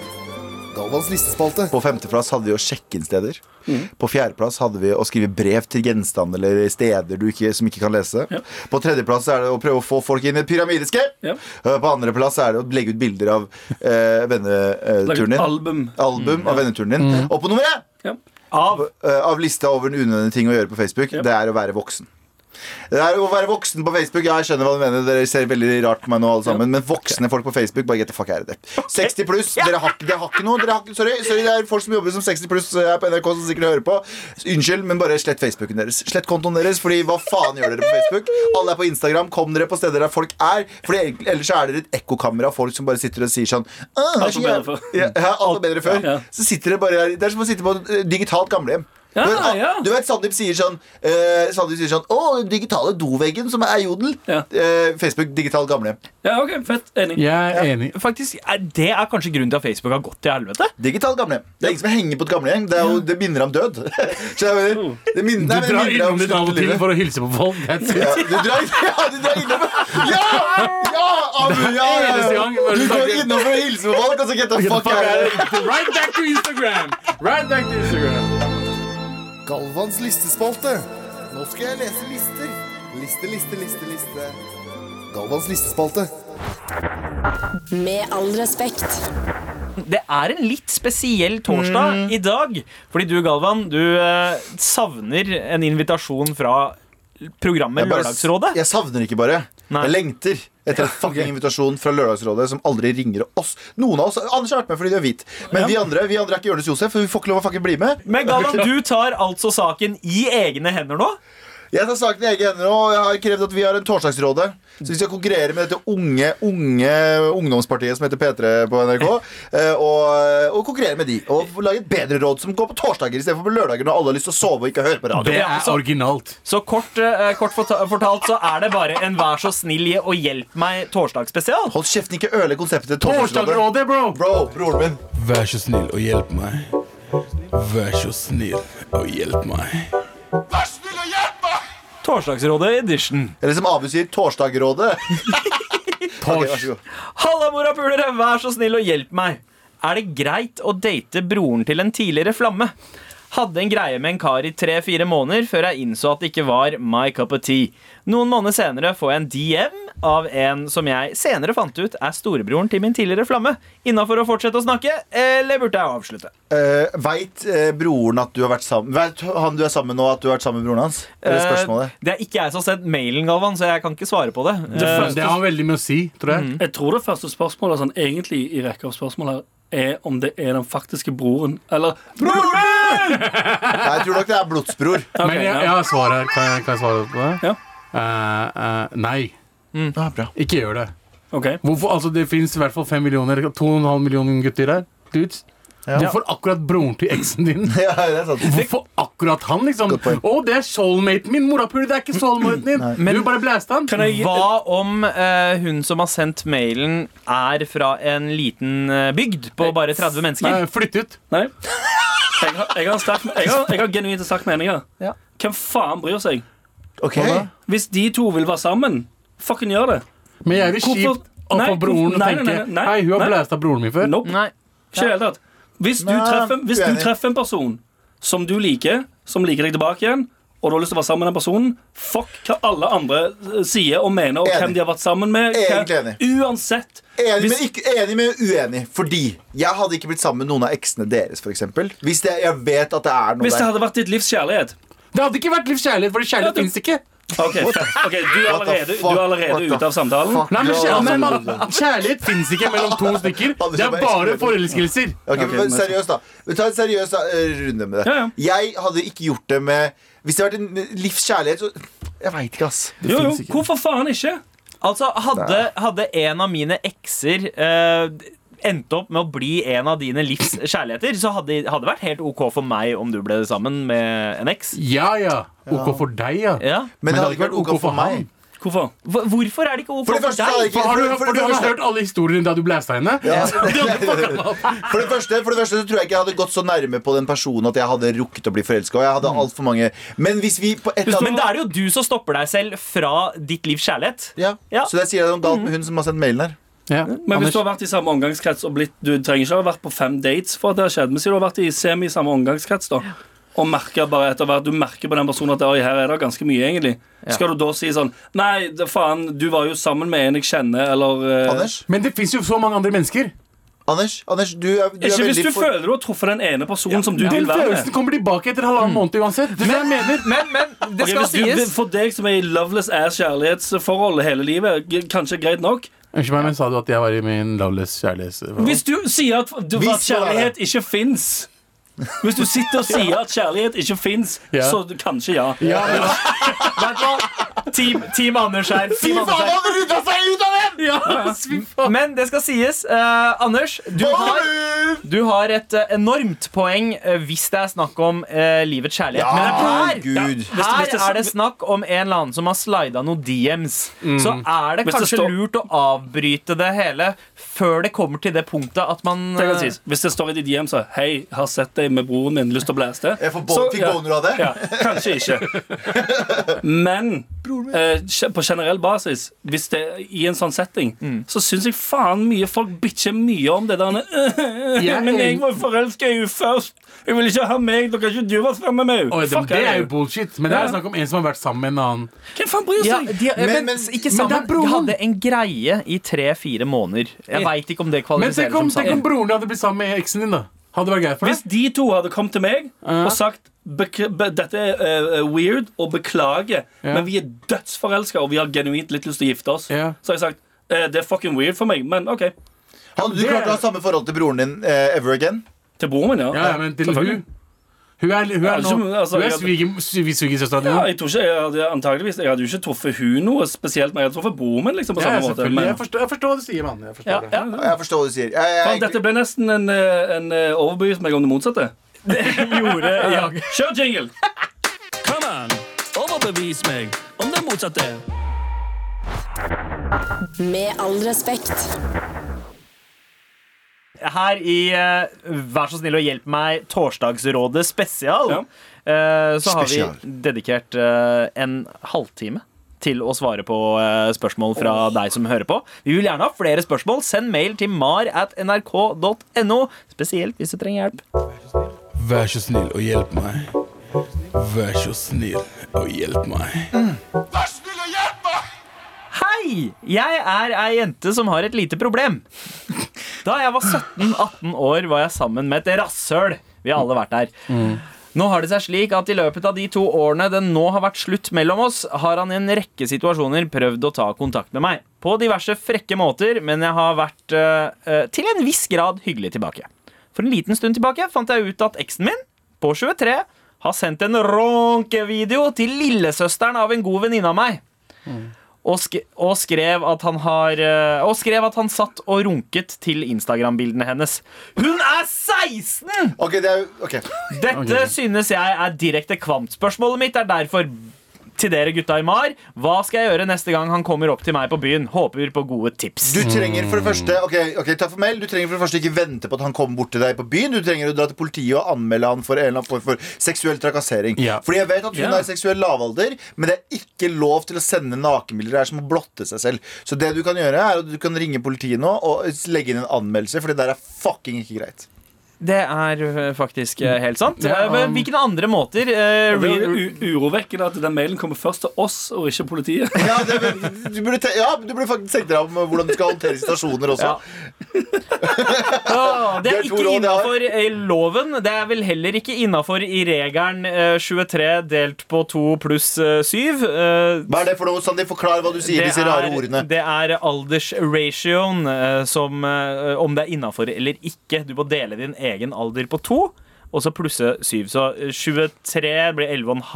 S3: Galvans listespalte. På femteplass hadde vi å sjekke inn steder. På fjerdeplass hadde vi å skrive brev til gjenstander eller steder du ikke, som ikke kan lese. På tredjeplass er det å prøve å få folk inn i pyramidiske.
S4: Ja.
S3: Eh, På andreplass er det å legge ut bilder av eh,
S4: Laget
S3: venneturen din
S4: album.
S3: album av venneturen din. Og på nummer én
S4: Ja.
S5: Av
S3: eh, av lista over unødvendige ting å gjøre på Facebook, det er å være voksen. Det er å være voksen på Facebook. Ja, jeg skjønner hva du mener. Dere ser veldig rart på meg nå, alle sammen. Men voksne folk på Facebook, bare get the fuck out of there. 60 pluss, dere har, ikke- dere har ikke noe. Dere har, ikke- sorry, sorry, det er folk som jobber som 60 pluss eh, her på NRK som sikkert hører på. Unnskyld, men bare slett Facebooken deres. Slett kontoen deres, fordi hva faen gjør dere på Facebook? Alle er på Instagram. Kom dere på steder der folk er. Fordi egentlig- ellers så er dere et ekkokammer av folk som bare sitter og sier sånn «Åh, det er så
S4: Alt var bedre
S3: jæv-
S4: før.
S3: ja, ja, alt var bedre før.
S4: Ja.
S3: Så sitter det bare Det er som å sitte på et eh, digitalt gamlehjem.
S4: Ja,
S3: du, vet,
S4: Ah,
S3: ah,
S4: ja.
S3: du vet Sandeep sier sånn eh, Sandeep sier sånn Å, den digitale doveggen som er jodel.
S4: Ja.
S3: Eh, Facebook digitalt gamlehjem.
S4: ja, OK, fett. Enig.
S2: Jeg er enig.
S5: Faktisk, er, Det er kanskje grunnen til at Facebook har gått til helvete.
S3: Digitalt gamlehjem. Det er ingen som henger på et gamlehjem. Det, er jo, det minner om død. Så jeg mener, det
S2: Du
S3: minner, nei, men det
S2: drar
S3: minner om
S2: innom ditt av og til
S3: sluttlivet.
S2: for å hilse på folk. That's it.
S3: Ja, du drar, ja, du drar innom Ja! Ja! Abu, ja, ja,
S2: eneste
S3: ja.
S2: gang bare
S3: Du
S2: du
S3: går
S2: snakker-
S3: innom for å hilse på folk, og så get the fuck out of here.
S2: Right back to Instagram! Right back to Instagram.
S3: Galvans listespalte. Nå skal jeg lese lister. Liste, liste, liste, liste. Galvans listespalte.
S6: Med all respekt.
S5: Det er en litt spesiell torsdag
S3: Mm.
S5: i dag. Fordi du, Galvan, du eh, savner en invitasjon fra programmet
S3: Jeg bare-
S5: Lørdagsrådet.
S3: Jeg savner ikke bare.
S5: Nei.
S3: Jeg lengter etter en fucking invitasjon fra Lørdagsrådet som aldri ringer oss. Noen av oss, Anders har vært med fordi du er hvit, men vi andre vi andre er ikke Jonis Josef, for vi får ikke lov å fucking bli med.
S5: Men Galvan, du tar altså saken i egne hender nå.
S3: Jeg tar saken i egne hender nå, og jeg har krevd at vi har en torsdagsråde. Så vi skal konkurrere med dette unge, unge ungdomspartiet som heter P3 på NRK, eh, og, og konkurrere med de. Og lage et bedre råd som går på torsdager istedenfor på lørdager, når alle har lyst til å sove og ikke høre på radio.
S2: Det er originalt.
S5: Så kort, eh, kort forta- fortalt så er det bare en vær så snill og hjelp meg torsdagsspesial.
S3: Hold kjeften, ikke ødelegg konseptet til torsdagsrådet.
S2: Torsdagsrådet, bro!
S3: Bro, broren min.
S2: Vær så snill og hjelp meg. Vær så snill og hjelp meg.
S5: Torsdagsrådet edition.
S3: Eller som Abu sier, Torsdagrådet. Ok, vær så god.
S5: Halla, morapulere, vær så snill og hjelp meg. Er det greit å date broren til en tidligere flamme? Hadde en greie med en kar i tre-fire måneder før jeg innså at det ikke var my cup of tea. Noen måneder senere får jeg en DM av en som jeg senere fant ut er storebroren til min tidligere flamme. Innafor å fortsette å snakke, eller burde jeg avslutte?
S3: Eh, Veit eh, broren at du har vært sammen Vet han du er sammen med nå, at du har vært sammen med broren hans? Det er spørsmålet.
S5: Eh, Det er ikke jeg som har sendt mailen, Galvan, så jeg kan ikke svare på det. Eh,
S2: Det har veldig mye å si, tror jeg.
S4: Jeg tror det første spørsmålet sånn, egentlig i rekka av spørsmål her er om det er den faktiske broren. Eller
S3: Nei, jeg tror nok det er blodsbror.
S4: Ok,
S2: Men jeg,
S4: ja.
S2: jeg har svar her. Kan jeg, kan jeg svare på det?
S4: Ja. Mm.
S2: Eh, eh, nei.
S3: Ja, bra.
S2: Ikke gjør det.
S4: OK.
S2: Hvorfor, altså, det fins i hvert fall fem millioner, to og en halv million gutter her. Dudes. Hvorfor akkurat broren til eksen din?
S3: Ja, det er sant.
S2: Hvorfor akkurat han, liksom?
S3: Godt poeng.
S2: Å, det er soulmaten min! Morapuler, det er ikke soulmaten din! Du bare blæste han.
S4: Kan jeg,
S5: Hva om eh, hun som har sendt mailen, er fra en liten eh, bygd på bare 30 mennesker?
S2: Nei, Flytt ut.
S4: Nei. Jeg har, jeg har, en sterk, jeg har, jeg har genuint en sterk mening her.
S5: Ja.
S4: Hvem faen bryr seg?
S3: Ok
S4: Hvis de to vil være sammen, fucking gjør det.
S2: Men jeg er litt
S4: Hvorfor-
S2: kjipt å
S4: Nei,
S2: få broren og
S4: nei, nei,
S2: tenke
S4: nei, nei,
S2: Hei, hun har
S4: nei.
S2: blæsta broren min før.
S4: Nope.
S5: Nei.
S4: Ikke i det hele tatt. Hvis du,
S3: Nei,
S4: treffer, hvis du
S3: uenig.
S4: treffer en person som du liker, som liker deg tilbake igjen, og du har lyst til å være sammen med den personen, fuck hva alle andre eh, sier og mener, og
S3: Enig.
S4: hvem de har vært sammen med. hva-
S3: Egentlig
S4: Uansett.
S3: Enig,
S4: Hvis-
S3: men ikke, enig, men uenig. Fordi jeg hadde ikke blitt sammen med noen av eksene deres. For eksempel. Hvis det, jeg vet at det er noe
S4: Hvis det
S3: der.
S4: hadde vært ditt livs kjærlighet.
S2: Det hadde ikke vært livs kjærlighet, for
S4: Ja,
S2: kjærlighet
S4: det-
S2: fins ikke.
S4: Ok, ok, du er
S3: What the
S4: allerede,
S3: fuck?
S4: du er
S3: What the
S4: allerede ute av samtalen.
S3: fuck?
S2: Nei, men
S3: Ja,
S2: kjærlighet,
S3: altså,
S2: men, kjærlighet fins ikke mellom to stykker. Det er bare forelskelser.
S3: Ok,
S4: Ok,
S3: men
S4: men-
S3: seriøst, da. Vi tar en seriøs da, eh, runde med det.
S4: Ja,
S3: Jeg hadde ikke gjort det med Hvis det hadde vært en livskjærlighet, så Jeg veit ikke, ass.
S4: Jo, jo,
S2: finnes ikke.
S4: hvorfor faen ikke?
S5: Altså, hadde, hadde en av mine ekser eh, endt opp med å bli en av dine livs kjærligheter, så hadde hadde det vært helt OK for meg om du ble sammen med en eks.
S2: Ja ja. OK for deg, ja.
S5: Ja.
S3: Men, det hadde ikke vært OK for, meg.
S2: han.
S4: Hvorfor?
S5: Hvor- Hvorfor er det ikke OK
S3: For
S5: for,
S3: det første hadde
S5: deg?
S3: jeg
S2: For
S3: ikke
S2: har du,
S3: for- for
S2: for
S3: det
S2: du har
S3: første-
S2: hørt alle historiene da du blæsta henne?
S3: Ja.
S2: Det hadde fucka meg opp.
S3: For det, første, for det første så tror jeg ikke jeg hadde gått så nærme på den personen at jeg hadde rukket å bli forelska. Og jeg hadde alt for mange Men hvis vi på et eller
S5: Men
S3: annet
S5: da er det jo du som stopper deg selv fra ditt livs kjærlighet.
S3: ja.
S5: Ja.
S3: Så det sier jeg noe galt med hun som har sendt mailen her.
S2: Ja.
S4: Men hvis
S2: Anders,
S4: du har vært i samme omgangskrets og blitt Du trenger ikke ha vært på fem dates for at det har skjedd, men si du har vært i semi samme omgangskrets, da. Og merker bare etter hvert Du merker på den personen at «Oi, her er det ganske mye, egentlig. Skal du da si sånn Nei, det, faen, du var jo sammen med en jeg kjenner, eller eh,
S3: Anders,
S2: men det fins jo så mange andre mennesker.
S3: Anders, Anders du er, du er
S4: Ikke
S3: veldig
S4: hvis du
S3: for
S4: føler du har truffet den ene personen som du
S2: Den
S4: vil være
S2: følelsen
S4: med.
S2: kommer tilbake etter halvannen måned
S4: Mm.
S2: uansett. Det er det jeg mener.
S5: Men, men, det
S4: Ok,
S5: skal
S4: hvis du,
S5: sies.
S4: for deg som er i loveless ass kjærlighetsforhold hele livet, g- kanskje greit nok.
S2: Unnskyld meg, men sa du at jeg var i min loveless kjærlighetsforhold?
S4: Hvis du sier at, du,
S3: Vis
S4: at kjærlighet ikke fins Hvis du sitter og sier at kjærlighet ikke fins,
S2: Ja.
S4: så du, kanskje ja.
S2: Ja, men
S5: Vet du hva? Team, team Anders her. Team Anders her.
S3: han rydda seg ut av den!
S5: Men det skal sies, eh, Anders, du har, du har et eh, enormt poeng eh, hvis det er snakk om eh, livets kjærlighet.
S3: Ja,
S5: Men her,
S3: Gud.
S5: her er det snakk om en eller annen som har slida noen DMs. Så er det
S4: Hvis det
S5: kanskje
S4: står-
S5: lurt å avbryte det hele før det kommer til det punktet at man
S4: Det kan
S5: eh,
S4: sies. Hvis det står i ditt hjem så Hei, har sett deg med broren min, lyst til å blæse det?
S3: Jeg får bon,
S4: Så,
S3: fikk boner av det.
S4: Ja, kanskje ikke. Men eh, kje- på generell basis, hvis det i en sånn setting, så syns jeg faen mye folk bitcher mye om det der
S2: Jeg er
S4: Men jeg
S2: enig.
S4: var forelska i henne først. Hun ville ikke ha meg. Da kan ikke du være sammen med
S2: Oi,
S4: henne.
S2: det,
S4: Fuck
S2: det er
S4: her.
S2: jo bullshit. Men det er snakk om en som har vært sammen med en annen.
S4: Hvem faen bryr
S5: ja,
S4: seg?
S5: de, eh,
S3: Men-
S5: men,
S3: men-
S5: ikke
S2: men det
S5: sammen.
S2: er broren.
S5: De hadde en greie i tre-fire måneder. Jeg veit ikke om
S2: Men
S5: det
S2: tenk
S5: kvalifiserer
S2: om,
S5: som
S2: tenk om
S5: sammen.
S2: broren din hadde blitt sammen med eksen din, da. Hadde det vært greit for
S4: Hvis
S2: deg?
S4: de to hadde kommet til meg
S2: Ja.
S4: og sagt "Bek- be, Dette er eh, weird og beklager,
S2: Ja.
S4: men vi er dødsforelska og vi har genuint litt lyst til å gifte oss,
S2: Ja.
S4: så har jeg sagt eh, det er fucking weird for meg, men OK.
S3: Hadde du klart å ha samme forhold til broren din eh, ever again?
S4: Til broren min, ja.
S2: Ja, ja, men til
S4: Selvfølgelig.
S2: hun Hun er, hun er, nå-
S4: Ja, som- altså,
S2: hun er
S4: jeg-
S2: sviger- svi- svigersøstera di.
S4: Ja,
S2: nå.
S4: jeg tror ikke, jeg hadde, antageligvis, jeg hadde jo ikke truffet hun noe spesielt, men jeg hadde truffet broren min. liksom på
S2: Ja,
S4: samme måte
S2: selvfølgelig.
S4: men,
S2: Jeg forstår, jeg forstår hva du sier, mann. Jeg forstår
S5: Ja,
S2: det.
S5: ja.
S3: Jeg forstår hva du sier. Jeg, jeg,
S4: Faen, Dette ble nesten en, eh, en eh, overbevist meg om det motsatte.
S5: Gjorde ja.
S4: Kjør jingle!
S7: Come on, overbevis meg om det motsatte.
S6: Med all respekt.
S5: Her i eh, Vær så snill og hjelp meg Torsdagsrådet spesial
S4: Ja.
S5: eh, Så har
S3: Spesial.
S5: vi dedikert eh, en halvtime til å svare på eh, spørsmål fra deg som hører på. Vi vil gjerne ha flere spørsmål. Send mail til mar at nrk.no, spesielt hvis du trenger hjelp.
S2: Vær så snill og hjelp meg. Vær så snill og hjelp meg.
S5: Hei! Jeg er ei jente som har et lite problem. Da jeg var 17-18 år, var jeg sammen med et rasshøl. Vi har alle vært der. Nå har det seg slik at i løpet av de to årene det nå har vært slutt mellom oss, har han i en rekke situasjoner prøvd å ta kontakt med meg. På diverse frekke måter, men jeg har vært eh, eh, til en viss grad hyggelig tilbake. For en liten stund tilbake fant jeg ut at eksen min, på 23, har sendt en ronkevideo til lillesøsteren av en god venninne av meg og, sk og skrev at han har eh, Og skrev at han satt og runket til Instagram-bildene hennes. Hun er 16!
S3: ok, det er, ok.
S5: Dette synes jeg er direkte kvantspørsmålet mitt. Er derfor til dere gutta i Mar. Hva skal jeg gjøre neste gang han kommer opp til meg på byen? Håper på gode tips.
S3: Du trenger for det første Ok, ok, takk for mail Du trenger for det første ikke vente på at han kommer bort til deg på byen. Du trenger å dra til politiet og anmelde han for en eller annen form for seksuell trakassering.
S2: Ja.
S3: Fordi jeg vet at hun
S4: Ja.
S3: er i seksuell lavalder, men det er ikke lov til å sende nakenbilder. Det er som å blotte seg selv. Så det du kan gjøre, er at du kan ringe politiet nå og legge inn en anmeldelse, for det der er fucking ikke greit.
S5: Det er eh, faktisk eh, helt sant.
S2: Ja,
S5: Eh,
S2: um,
S5: men Hvilke andre måter? eh,
S4: Det er
S5: re-
S4: jo u- urovekkende at den mailen kommer først til oss og ikke politiet.
S3: Ja, det, du, burde te ja, du burde faktisk tenke deg om eh, hvordan du skal håndtere situasjoner også.
S5: Ja. Åh, det
S3: Det
S5: er
S3: er to
S5: ikke
S3: råd jeg har.
S5: innafor loven. Det er vel heller ikke innafor i regelen eh, 23 delt på 2 pluss eh, 7. eh,
S3: Hva er det for noe, Sandeep? Forklar hva du sier, disse rare ordene.
S5: det er aldersratioen eh, som eh, Om det er innafor eller ikke. Du må dele din egen alder på to. Og så plusse 7. Så eh, 23 blir 11,5.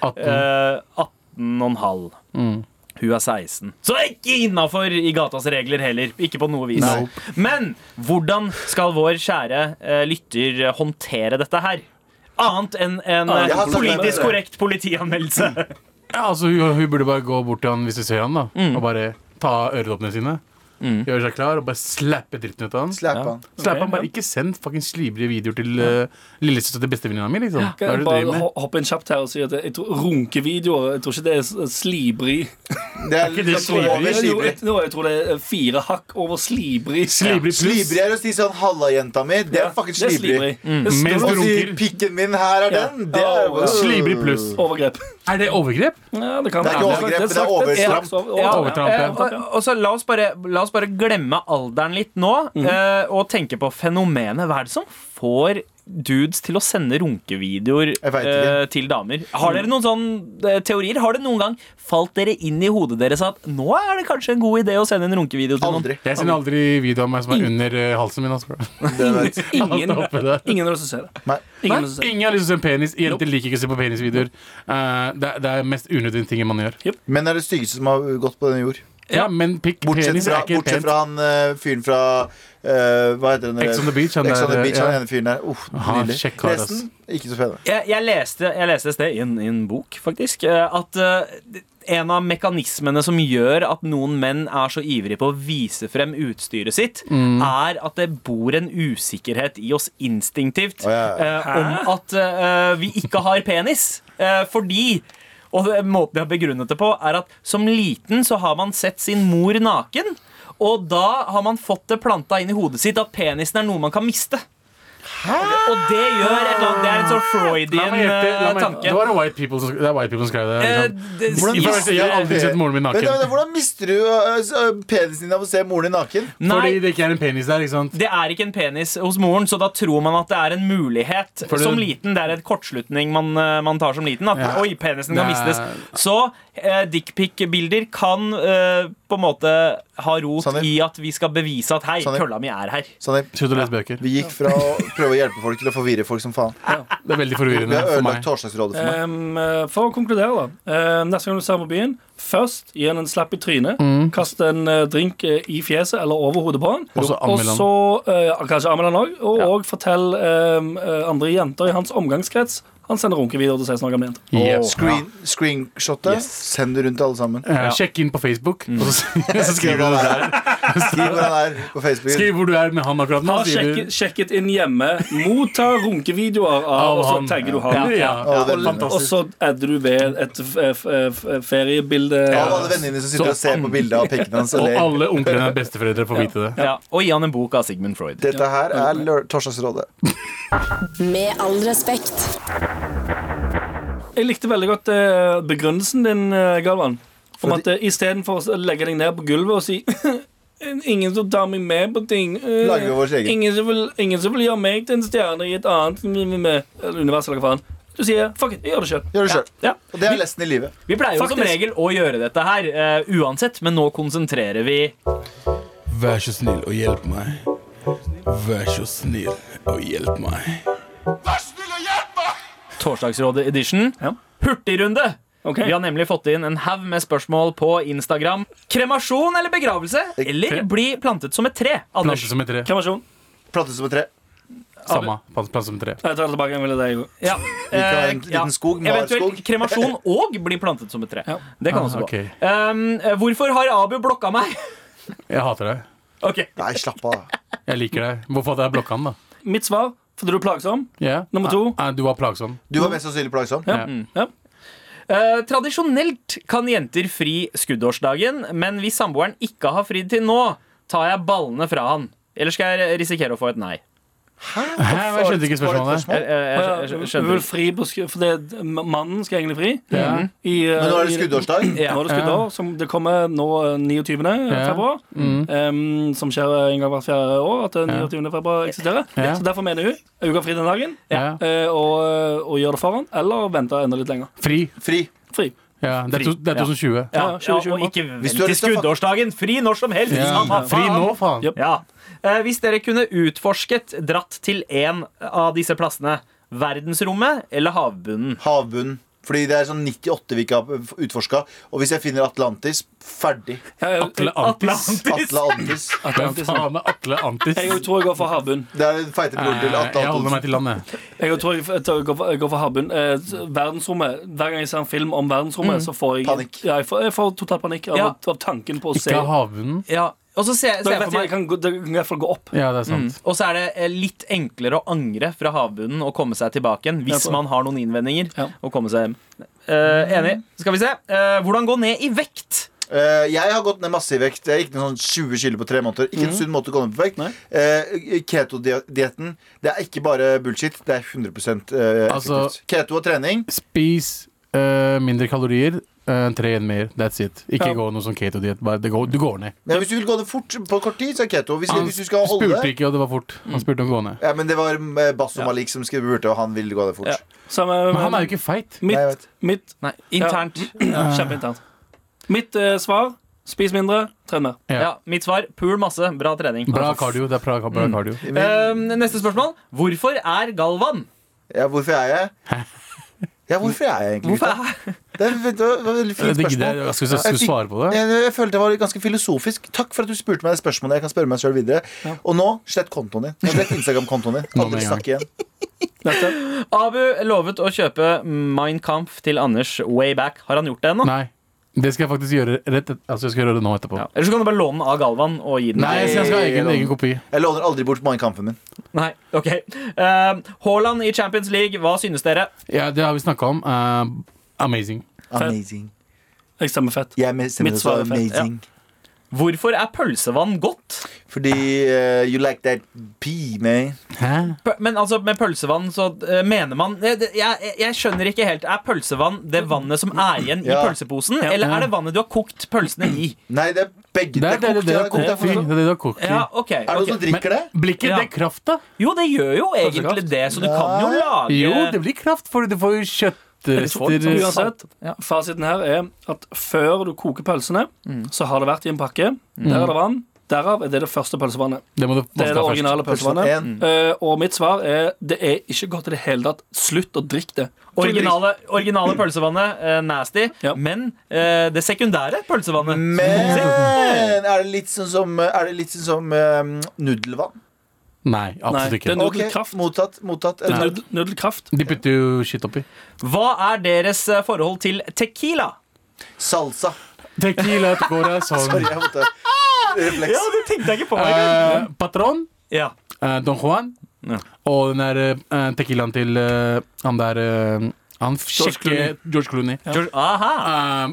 S2: 18.
S5: eh, 18,5. Hun er 16. Så ikke innafor i gatas regler heller. Ikke på noe vis.
S3: Nope.
S5: Men hvordan skal vår kjære eh, lytter eh, håndtere dette her? Annet enn en eh,
S4: Jeg
S3: har sagt det.
S5: politisk korrekt politianmeldelse.
S2: Ja, altså, hun, hun burde bare gå bort til han hvis hun ser han da
S4: Mm.
S2: og bare ta øredoppene sine. Gjøre seg klar og bare slappe dritten ut av han. Slapp
S3: Slapp av.
S2: han bare Ikke send fucking slibrige videoer til uh, lillesøster til bestevenninna mi, liksom. Hva er
S4: Kan jeg
S2: det du driver
S4: bare
S2: med?
S4: ho- hoppe inn kjapt her og si at jeg tror runkevideoer Jeg tror ikke det er s- eh, slibri.
S3: Det er litt sånn over
S4: Jo,
S3: slibrig.
S4: jeg, nå, jeg tror det er fire hakk over slibri.
S2: Slibrig pluss.
S3: Slibrig er å si sånn 'halla, jenta mi'. Det er fucking
S4: Det er
S3: slibrig.
S4: Det er
S2: Mens
S3: Å
S2: du
S4: stort
S3: si
S2: runker.
S3: 'pikken min, her er
S4: Ja.
S3: den', det er
S4: Åh,
S2: Slibrig pluss.
S4: overgrep.
S2: Er det overgrep?
S4: Ja, det, kan
S3: Det er ikke
S4: være.
S3: overgrep, men det er
S4: sagt-
S3: overtramp.
S4: slags over-
S5: Ja,
S2: Overtramp,
S5: eh,
S2: ja.
S5: og, og så la oss, bare, la oss bare glemme alderen litt nå,
S3: Mhm.
S5: eh, og tenke på fenomenet. Hva er det som får dudes til å sende runkevideoer
S3: Jeg vet
S5: eh, til damer? Har dere noen sånne eh, teorier? Har det noen gang falt dere inn i hodet deres at nå er det kanskje en god idé å sende en runkevideo
S2: sånn-
S5: til
S3: Aldri.
S2: Jeg sender aldri video av meg som er under eh, halsen min. Altså. bro.
S3: Det vet.
S4: Ingen,
S2: Alt oppe der.
S4: ingen av oss som ser det.
S3: Nei.
S4: Ingen av oss som ser det.
S2: Ingen har lyst til å se en penis. Jenter liker ikke å se på penisvideoer. Eh, det, er- det er mest unødvendige ting man gjør.
S3: Menn er det styggeste som har gått på denne jord.
S2: Ja, men pikk
S3: Bortsett
S2: penis er
S3: fra,
S2: ikke pent.
S3: bortsett fra han eh, fyren fra eh, Hva heter den?
S2: Ex on the Beach, han
S3: Han, Ex on the
S2: der,
S3: beach, han
S2: ja.
S3: ene fyren der. Uff,
S2: Aha,
S3: nydelig.
S2: kjekk kar, ass.
S3: Resten ikke så pene.
S5: Jeg, jeg, leste, jeg leste et sted i en, i en bok, faktisk, eh, at eh, en av mekanismene som gjør at noen menn er så ivrige på å vise frem utstyret sitt, er at det bor en usikkerhet i oss instinktivt
S3: Å, ja, ja.
S5: eh, om at eh, vi ikke har penis. Eh, fordi og det- måten de har begrunnet det på, er at som liten så har man sett sin mor naken. Og da har man fått det planta inn i hodet sitt at penisen er noe man kan miste. Og det gjør et eller annet. Det er en sånn
S2: Ah. La
S5: Freudian
S2: meg gjette. la
S5: eh,
S2: meg- Det
S5: tanke.
S2: var en white people som, det er white people som skrev det.
S5: Eh,
S2: Liksom.
S5: det-
S2: Hvordan, for, å være
S5: Yes.
S2: sikker, jeg har aldri sett moren min
S3: Vent, vent,
S2: naken.
S3: Hvordan mister du øh, øh, penisen din av å se moren din naken?
S5: Nei,
S2: Fordi det ikke er en penis der. ikke sant?
S5: det er ikke en penis hos moren, så da tror man at det er en mulighet.
S2: For det-
S5: som liten, Det er et kortslutning man, eh, man tar som liten. At
S2: Ja.
S5: oi, penisen kan
S2: Nei.
S5: mistes. Så eh, dickpic-bilder kan eh, på en måte ha rot
S3: Sandeep.
S5: i at vi skal bevise at hei,
S3: Sandeep.
S5: kølla mi er her.
S3: Sandeep,
S2: Slutt å lese bøker.
S3: vi gikk fra å prøve å hjelpe folk til å forvirre folk som faen.
S2: Det er veldig
S3: Vi
S2: forvirrende
S3: har
S2: for
S3: ødelagt
S2: meg.
S3: torsdagsrådet for meg.
S4: Ehm, eh, for å konkludere, da. Eh, neste gang du ser på byen, først gi han en slapp i trynet. Kast en eh, drink eh, i fjeset eller over hodet på han.
S2: Mm. Og så anmeld han.
S4: så eh, kanskje anmeld han òg. Og, og fortell ehm, eh, andre jenter i hans omgangskrets. Han sender runkevideoer til 16 år gamle jenter.
S2: Yeah.
S3: Screen, screenshotet, send det rundt til alle sammen.
S2: Eh, Sjekk inn på Facebook, og så, så skriver du
S3: Skriv
S2: det
S3: hva
S2: der.
S3: det er. Skriv hva det er på Facebook.
S2: Skriv hvor du er med han akkurat nå. sier
S4: Ha
S2: du.
S4: sjekket, sjekket inn hjemme, motta runkevideoer av, og så tagger du han.
S2: Ja,
S3: Ja, det er
S4: Og
S2: fantastisk.
S4: så adder du ved et f f f feriebilde.
S3: Av alle vennene dine som sitter
S2: Så-
S3: og ser på bildet av pikken hans og
S2: Og
S3: ler.
S2: alle onklene og besteforeldre får vite det.
S5: Ja, og gi han en bok av Sigmund Freud.
S3: Dette her er lør- Torsdagsrådet.
S6: Med all respekt.
S4: Jeg likte veldig godt eh, begrunnelsen din, eh, Galvan. Om at eh, istedenfor å legge deg ned på gulvet og si Ingen som tar meg med på ting. eh,
S3: Lager vi vår egen.
S4: ingen, som vil, ingen som vil gjøre meg til en stjerne i et annet eller univers eller hva faen. Du sier fuck it, jeg gjør det sjøl.
S3: Gjør det sjøl.
S5: Ja.
S3: Og det er lesten i livet.
S5: Vi pleier jo som
S4: Faktisk.
S5: regel å gjøre dette her eh, uansett, men nå konsentrerer vi
S2: Vær så snill og hjelp meg. Vær så snill og hjelp meg.
S5: Torsdagsrådet edition.
S4: Ja.
S5: Hurtigrunde!
S4: Ok.
S5: Vi har nemlig fått inn en haug med spørsmål på Instagram. Kremasjon eller begravelse? Eller bli plantet som et tre? Anders.
S2: Plante som et tre.
S4: Kremasjon.
S3: Plante som et tre.
S2: Samme. Plante som et tre.
S4: Jeg tar det tilbake. Jeg ville det, jeg òg.
S5: Ja.
S3: Vi kan ha en
S5: Eh,
S3: liten
S5: ja.
S3: skog,
S5: Eventuelt
S3: marskog.
S5: kremasjon og bli plantet som et tre.
S4: Ja.
S5: Det kan
S2: Ah,
S5: også gå.
S2: ok.
S5: Um, eh, hvorfor har Abu blokka meg?
S2: Jeg hater deg.
S5: Ok,
S3: Nei, slapp av. da.
S2: Jeg liker deg. Hvorfor hadde jeg blokka han, da?
S4: Mitt svar fordi du er plagsom.
S2: Ja.
S4: Nummer to.
S2: Eh, Du var plagsom.
S3: Du var mest sannsynlig plagsom.
S4: Ja. Ja.
S5: Eh, Tradisjonelt kan jenter fri skuddårsdagen, men hvis samboeren ikke har fridd til nå, tar jeg ballene fra han. Eller skal jeg risikere å få et nei? Eh,
S2: Hæ, jeg skjønte ikke
S3: Var det et
S2: spørsmålet.
S5: Jeg,
S3: spørsmål?
S5: jeg, jeg,
S4: Altså, Du
S5: jeg,
S4: vil
S5: skjønner.
S4: fri på sku... For det, mannen skal egentlig fri.
S2: Ja.
S4: I, eh,
S3: Men nå er det
S4: i-
S3: skuddårsdag.
S5: Ja.
S4: Nå er det skuddår, som det kommer nå eh, 29. februar.
S2: Mm.
S4: em, som skjer en gang hvert fjerde år, at eh, 29. februar eksisterer.
S2: Ja.
S4: Så derfor mener hun uka fri den dagen,
S2: Ja.
S4: eh, og, og gjør det foran, eller venter enda litt lenger.
S2: Fri.
S3: Fri.
S4: Fri.
S2: Ja, det er, to, det er 2020.
S5: Ja,
S4: Ja,
S5: ja,
S4: 2020
S5: og ikke
S3: Hvis
S5: vent
S3: du har
S5: til
S3: lyst til å fa-
S5: skuddårsdagen. Fri når som helst.
S2: Ja.
S5: Samme
S2: Fri
S5: faen.
S2: nå, faen.
S4: Yep.
S5: Ja. Eh, hvis dere kunne utforsket dratt til én av disse plassene, verdensrommet eller havbunnen?
S3: Havbunnen. Fordi det er sånn 98 vi ikke har utforska. Og hvis jeg finner Atlantis, ferdig.
S4: Ja, jeg-
S2: Atle Antis.
S3: Atlantis.
S2: Hvem faen er Atle Antis?
S4: Jeg tror jeg går for havbunn.
S3: Det er den feite broren til
S2: Eh,
S3: Atle
S2: Jeg holder
S3: Antonsen.
S2: meg til landet.
S4: Jeg tror jeg f- jeg går for, jeg går for havbunn. Eh, verdensrommet. Hver gang jeg ser en film om
S2: Mm.
S4: verdensrommet, så får jeg
S3: Panikk.
S4: Ja, jeg får, jeg får total panikk av,
S5: Ja.
S4: av tanken på å se
S2: Ikke havbunnen.
S5: Ja. Og så ser,
S4: Da
S5: ser jeg
S4: vet
S5: for
S4: jeg, jeg
S5: meg
S4: kan, gå- det kan i hvert fall gå opp.
S2: Ja, det er sant.
S5: og så er det eh, litt enklere å angre fra havbunnen og komme seg tilbake igjen hvis
S4: Ja, for-
S5: man har noen innvendinger.
S4: Ja.
S5: Og komme seg hjem Eh, Enig. Skal vi se. Eh, hvordan gå ned i vekt?
S3: Eh, jeg har gått ned masse i vekt. Jeg gikk ned sånn 20 kilo på tre måneder. Ikke en
S2: Mhm.
S3: sunn måte å gå ned på vekt.
S4: Nei.
S3: Uh, Keto-dietten Det er ikke bare bullshit. Det er 100 eh,
S2: Altså-
S3: effektivt. Keto og trening.
S2: Spis eh, mindre kalorier. eh, tre igjen mer. That's it. Ikke
S4: Ja.
S2: gå noe sånn keto-diett. bare det går- Du går ned.
S3: Men hvis du vil gå ned fort på kort tid, så er keto. Hvis,
S2: Han
S3: hvis du skal holde
S2: spurte ikke, og det var fort. Han spurte om å gå ned.
S3: ja, men Det var eh, Basso Malik som skrev burde, og han ville gå ned fort.
S4: Ja. Så, eh,
S2: Men han er jo ikke feit.
S3: Nei, jeg
S4: mitt,
S3: vet.
S4: mitt
S5: Nei, internt.
S4: Ja, Kjempeinternt. Mitt eh, svar spis mindre, tren mer.
S5: Ja.
S2: Ja.
S5: mitt svar pul masse. Bra trening.
S2: Bra cardio. Det er bra, bra
S3: Mm.
S2: cardio.
S5: Eh, neste spørsmål. Hvorfor er Galvan?
S3: Ja, hvorfor er jeg? Ja, hvorfor er jeg egentlig?
S5: Hvorfor
S3: gutta?
S5: er
S3: Det er- vet du hva, det var et veldig
S2: Jeg
S3: fint
S2: digger det.
S3: spørsmål.
S2: Jeg skulle, jeg
S3: Jeg
S2: skulle
S3: fikk-
S2: svare på det.
S3: Jeg, jeg følte det var ganske filosofisk. Takk for at du spurte meg det spørsmålet. Jeg kan spørre meg selv videre. Og nå slett kontoen din. Slett Instagram-kontoen din.
S2: Nå med
S3: Aldri
S2: en
S3: snakk igjen.
S4: Neste.
S5: Abu lovet å kjøpe Mein Kampf til Anders way back. Har han gjort det ennå?
S2: Nei. Det skal jeg faktisk gjøre rett et- Altså, jeg skal gjøre det nå etterpå.
S5: Ja. Eller så kan du bare låne den av Galvan og gi den.
S2: Nei, jeg skal jeg skal ha egen, egen kopi.
S3: Jeg låner aldri bort Mindkampen min.
S5: Nei, ok Eh, Haaland i Champions League, hva synes dere?
S2: Ja, det har vi snakka om. Eh, amazing.
S3: Amazing.
S4: Jeg stemmer fett.
S3: Jeg stemmer
S4: Mitt
S3: også
S4: svar er fett,
S3: amazing.
S5: Hvorfor er pølsevann godt?
S3: Fordi eh, you like that pee, man.
S2: Hæ?
S5: P- Men altså, med pølsevann så eh, mener man jeg, jeg, jeg skjønner ikke helt. Er pølsevann det vannet som er igjen i
S3: Ja.
S5: pølseposen, eller er det vannet du har kokt pølsene i?
S3: Nei, det er begge.
S2: Det er det, det, det,
S3: kokt, ja,
S2: er kokt i.
S3: det er
S2: Det
S3: kokt.
S2: er det du har kokt i.
S5: Ja, ok,
S3: Er det sånn- noen som
S5: ok.
S3: drikker det?
S2: Blir ikke
S5: Ja.
S2: det kraft, da?
S5: Jo, det gjør jo egentlig
S2: Pølsekraft?
S5: det, så du kan jo lage
S2: Jo, det blir kraft, for du får jo kjøttrester.
S4: Uansett, fasiten her er at før du koker pølsene,
S2: Mm.
S4: så har det vært i en pakke. Der er det vann. Derav er det det første pølsevannet.
S2: Det må du
S4: Det er
S2: vaske av først.
S4: det
S2: Mm.
S4: originale
S3: Pølsevann
S4: pølsevannet.
S3: en.
S4: Eh, og mitt svar er det er ikke godt i det hele tatt. Slutt å drikke det.
S5: originale, originale pølsevannet. eh, nasty.
S4: Ja.
S5: Men eh, det sekundære pølsevannet
S3: Men er det litt sånn som, er det litt sånn som eh, nudelvann?
S2: Nei, absolutt
S4: Nei,
S2: ikke.
S4: den-
S3: Ok,
S4: Nudelkraft.
S3: mottatt. mottatt
S4: Det er nudel- Nudelkraft.
S2: De putter jo shit oppi.
S5: Hva er deres eh, forhold til tequila?
S3: Salsa.
S2: Tequila Tocora
S3: Sorry,
S2: Son.
S3: jeg måtte Refleks.
S5: det tenkte jeg ikke på.
S2: Eh, Patron,
S5: Ja.
S2: eh, Don Juan
S5: Ja.
S2: og den der eh, tequilaen til eh, han der eh, Han
S4: Clooney.
S2: kjekke George Clooney.
S5: George, aha.
S2: Eh,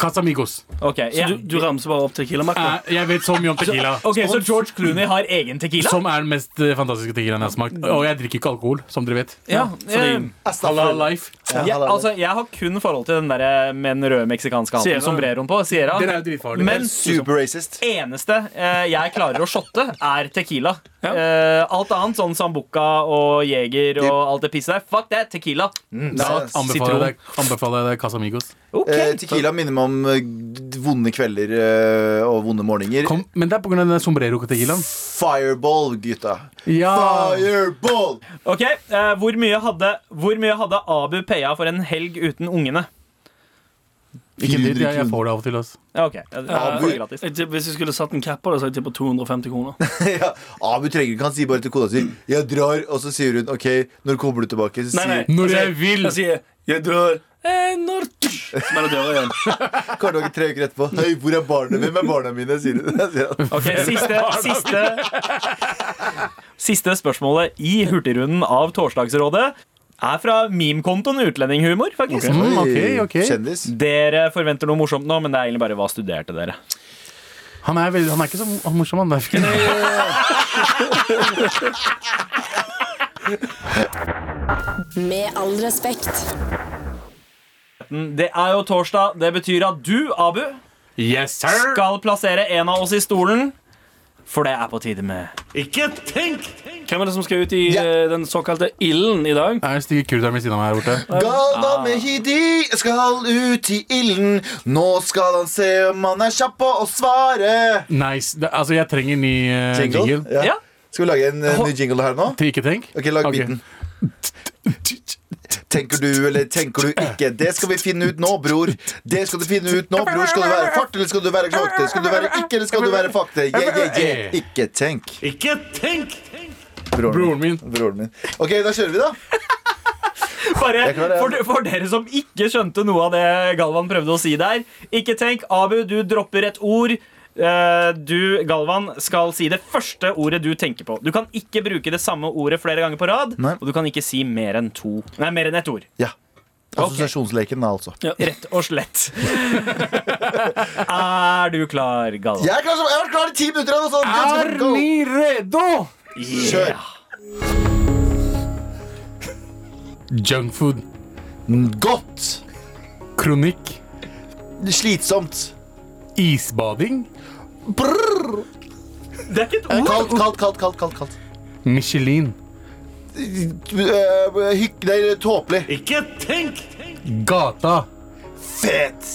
S2: Casamigos.
S5: Ok,
S4: Så
S5: ja.
S4: du, du ramser bare opp Tequila-makta.
S2: Eh, jeg vet så mye om tequila.
S5: Ok, Så George Clooney har egen tequila?
S2: Som er den mest eh, fantastiske tequilaen jeg har smakt. Og jeg drikker ikke alkohol, som dere vet.
S5: ja,
S4: fordi-
S5: eh,
S2: Halal life.
S3: Ja,
S5: Ja,
S3: halal.
S5: altså, jeg har kun forhold til den der med den røde meksikanske hatten
S4: Sierra.
S5: sombreroen på. Sierra.
S2: Den er jo dritfarlig.
S5: Men
S3: Super racist.
S5: eneste eh, jeg klarer å shotte, er Tequila.
S4: Ja.
S5: Eh, alt annet, sånn Sambuca og Jeger og alt det pisset der, fuck det, Tequila. Mm.
S2: Da
S3: Nei,
S2: anbefaler jeg deg- anbefaler jeg deg Casamigos.
S5: Ok.
S3: eh, tequila minner meg om eh, vonde kvelder eh, og vonde morgener.
S2: Kom, men det er pga. den sombrero-tequilaen.
S3: Fireball, gutta.
S2: Ja.
S3: Fireball!
S5: Ok, eh, hvor, mye hadde, hvor mye hadde Abu paya for en helg uten ungene?
S2: Ikke dritt,
S3: 400
S2: jeg, jeg får det av og til. Altså.
S5: Ja, ok. Det var
S3: Abu-
S5: gratis.
S4: Jeg tipp- Hvis jeg skulle satt en cap på det, så hadde jeg tippa 250 kroner.
S3: ja. Abu trenger ikke, han sier bare til kona si 'jeg drar', og så sier hun 'OK, når kommer du tilbake?' Så
S4: Nei, nei.
S3: sier
S2: Når
S4: Altså,
S2: jeg vil.
S4: Jeg sier 'jeg dør'. Eh, når Smeller døra igjen.
S3: Karl Åge tre uker etterpå 'Hei, hvor er barna mine?' 'Hvem er barna mine?' sier hun. Sier han.
S5: Ok, siste, siste, siste spørsmålet i hurtigrunden av Torsdagsrådet er fra memekontoen Utlendinghumor, faktisk.
S2: Mm, ok, ok.
S3: Kjendis.
S5: Dere forventer noe morsomt nå, men det er egentlig bare hva studerte dere?
S2: Han, er veldig, han er ikke så mo- morsom, han. Der.
S6: Med all respekt.
S5: Mm, Det er jo torsdag. Det betyr at du, Abu,
S2: Yes, sir!
S5: skal plassere en av oss i stolen. For det er på tide med
S4: Hvem er det som skal ut i
S3: Ja.
S4: eh, den såkalte ilden i dag?
S2: Er det Stig Kurderen ved siden av meg her borte?
S3: Galvan Mehidi skal ut i ilden. Nå skal han se om han er kjapp på å svare.
S2: Nice. Det, altså, jeg trenger ny eh, jingle.
S3: Ja.
S5: Ja.
S3: Skal vi lage en eh, ny jingle her nå?
S2: Til Ikke tenk.
S3: Ok, lag
S2: Ok.
S3: biten. Tenker du eller tenker du ikke? Det skal vi finne ut nå, bror. Det skal du finne ut nå, bror. Skal du være fart, eller skal du være klokte? Skal du være ikke, eller skal du være fakte? Yeah, yeah, yeah. Ikke tenk.
S7: Ikke tenk!
S3: Broren min.
S2: Broren min.
S3: Broren min. Ok, da kjører vi, da.
S5: Bare
S3: Jeg klarer det.
S5: for, for dere som ikke skjønte noe av det Galvan prøvde å si der. Ikke tenk, Abu, du dropper et ord. Eh, Du, Galvan, skal si det første ordet du tenker på. Du kan ikke bruke det samme ordet flere ganger på rad,
S3: Nei.
S5: og du kan ikke si mer enn to Nei, mer enn ett ord.
S3: Ja. Assosiasjonsleken, da, altså.
S5: Rett og slett. er du klar, Galvan?
S3: Jeg er klar, som- jeg har vært klar i ti minutter. eller noe sånt. Let's go.
S2: redo?
S3: Kjør.
S2: Junkfood.
S3: Godt.
S2: Kronikk.
S3: Slitsomt.
S2: Isbading.
S3: Brrr.
S5: Det er ikke
S3: Eh,
S5: et ord!
S3: Kaldt, kaldt, kaldt. kaldt, kaldt, kaldt.
S2: Michelin.
S3: Eh, Hykk Nei, tåpelig.
S7: Ikke tenk!
S2: Gata.
S3: Fet.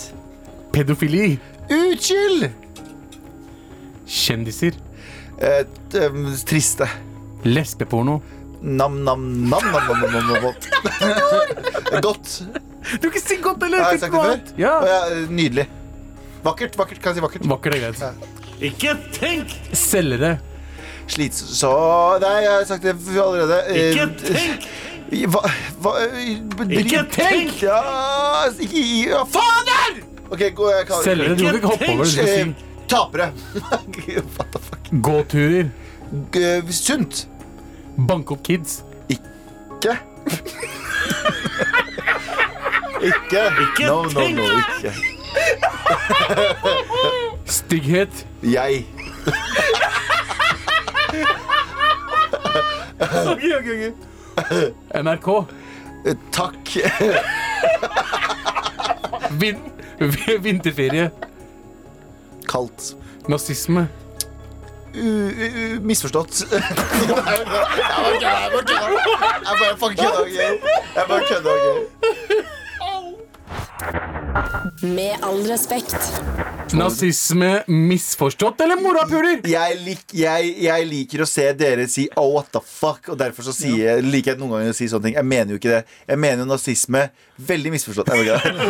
S2: Pedofili.
S3: Utkyld.
S2: Kjendiser.
S3: Eh, t- eh, triste.
S2: Lesbeporno.
S3: Nam-nam-nam-nam-nam-nam. Godt.
S2: Du har ikke si godt
S3: Har
S2: eller
S3: jeg sagt det før?
S2: Ja.
S3: Å, ja, nydelig. Vakkert, vakkert. Kan jeg si vakkert?
S2: Vakker og greit.
S7: Ikke tenk!
S2: Selgere.
S3: Slits... Så Nei, jeg har sagt det allerede. Eh,
S7: Ikke tenk!
S3: Hva, hva eh,
S7: Ikke tenk!
S3: Ja, ikke ja, Faen der! OK, gå. Jeg kan
S2: Selgere. Du må ikke hoppe over det. Du skal
S3: Eh,
S2: si
S3: Tapere. What the fuck?
S2: gåturer.
S3: Eh, sunt.
S2: Banke opp kids.
S3: Ikke. ikke.
S7: Ikke
S3: No, no,
S7: tenk!
S3: no. Ikke.
S2: Stygghet.
S3: Jeg.
S2: NRK,
S3: eh, Takk.
S2: vin vinterferie,
S3: Kaldt.
S2: nazisme.
S3: U- u- u- misforstått. Nei, nei, Jeg bare kødder. Jeg bare fucking kødder. ok? Jeg bare kødder. ok?
S6: Med all respekt.
S2: Nazisme misforstått eller morapuler?
S3: Jeg, lik, jeg, jeg liker å se dere si oh, what the fuck, og derfor så sier, jeg- liker jeg noen ganger å si sånne ting. Jeg mener jo ikke det. Jeg mener jo nazisme. Veldig misforstått. Jeg bare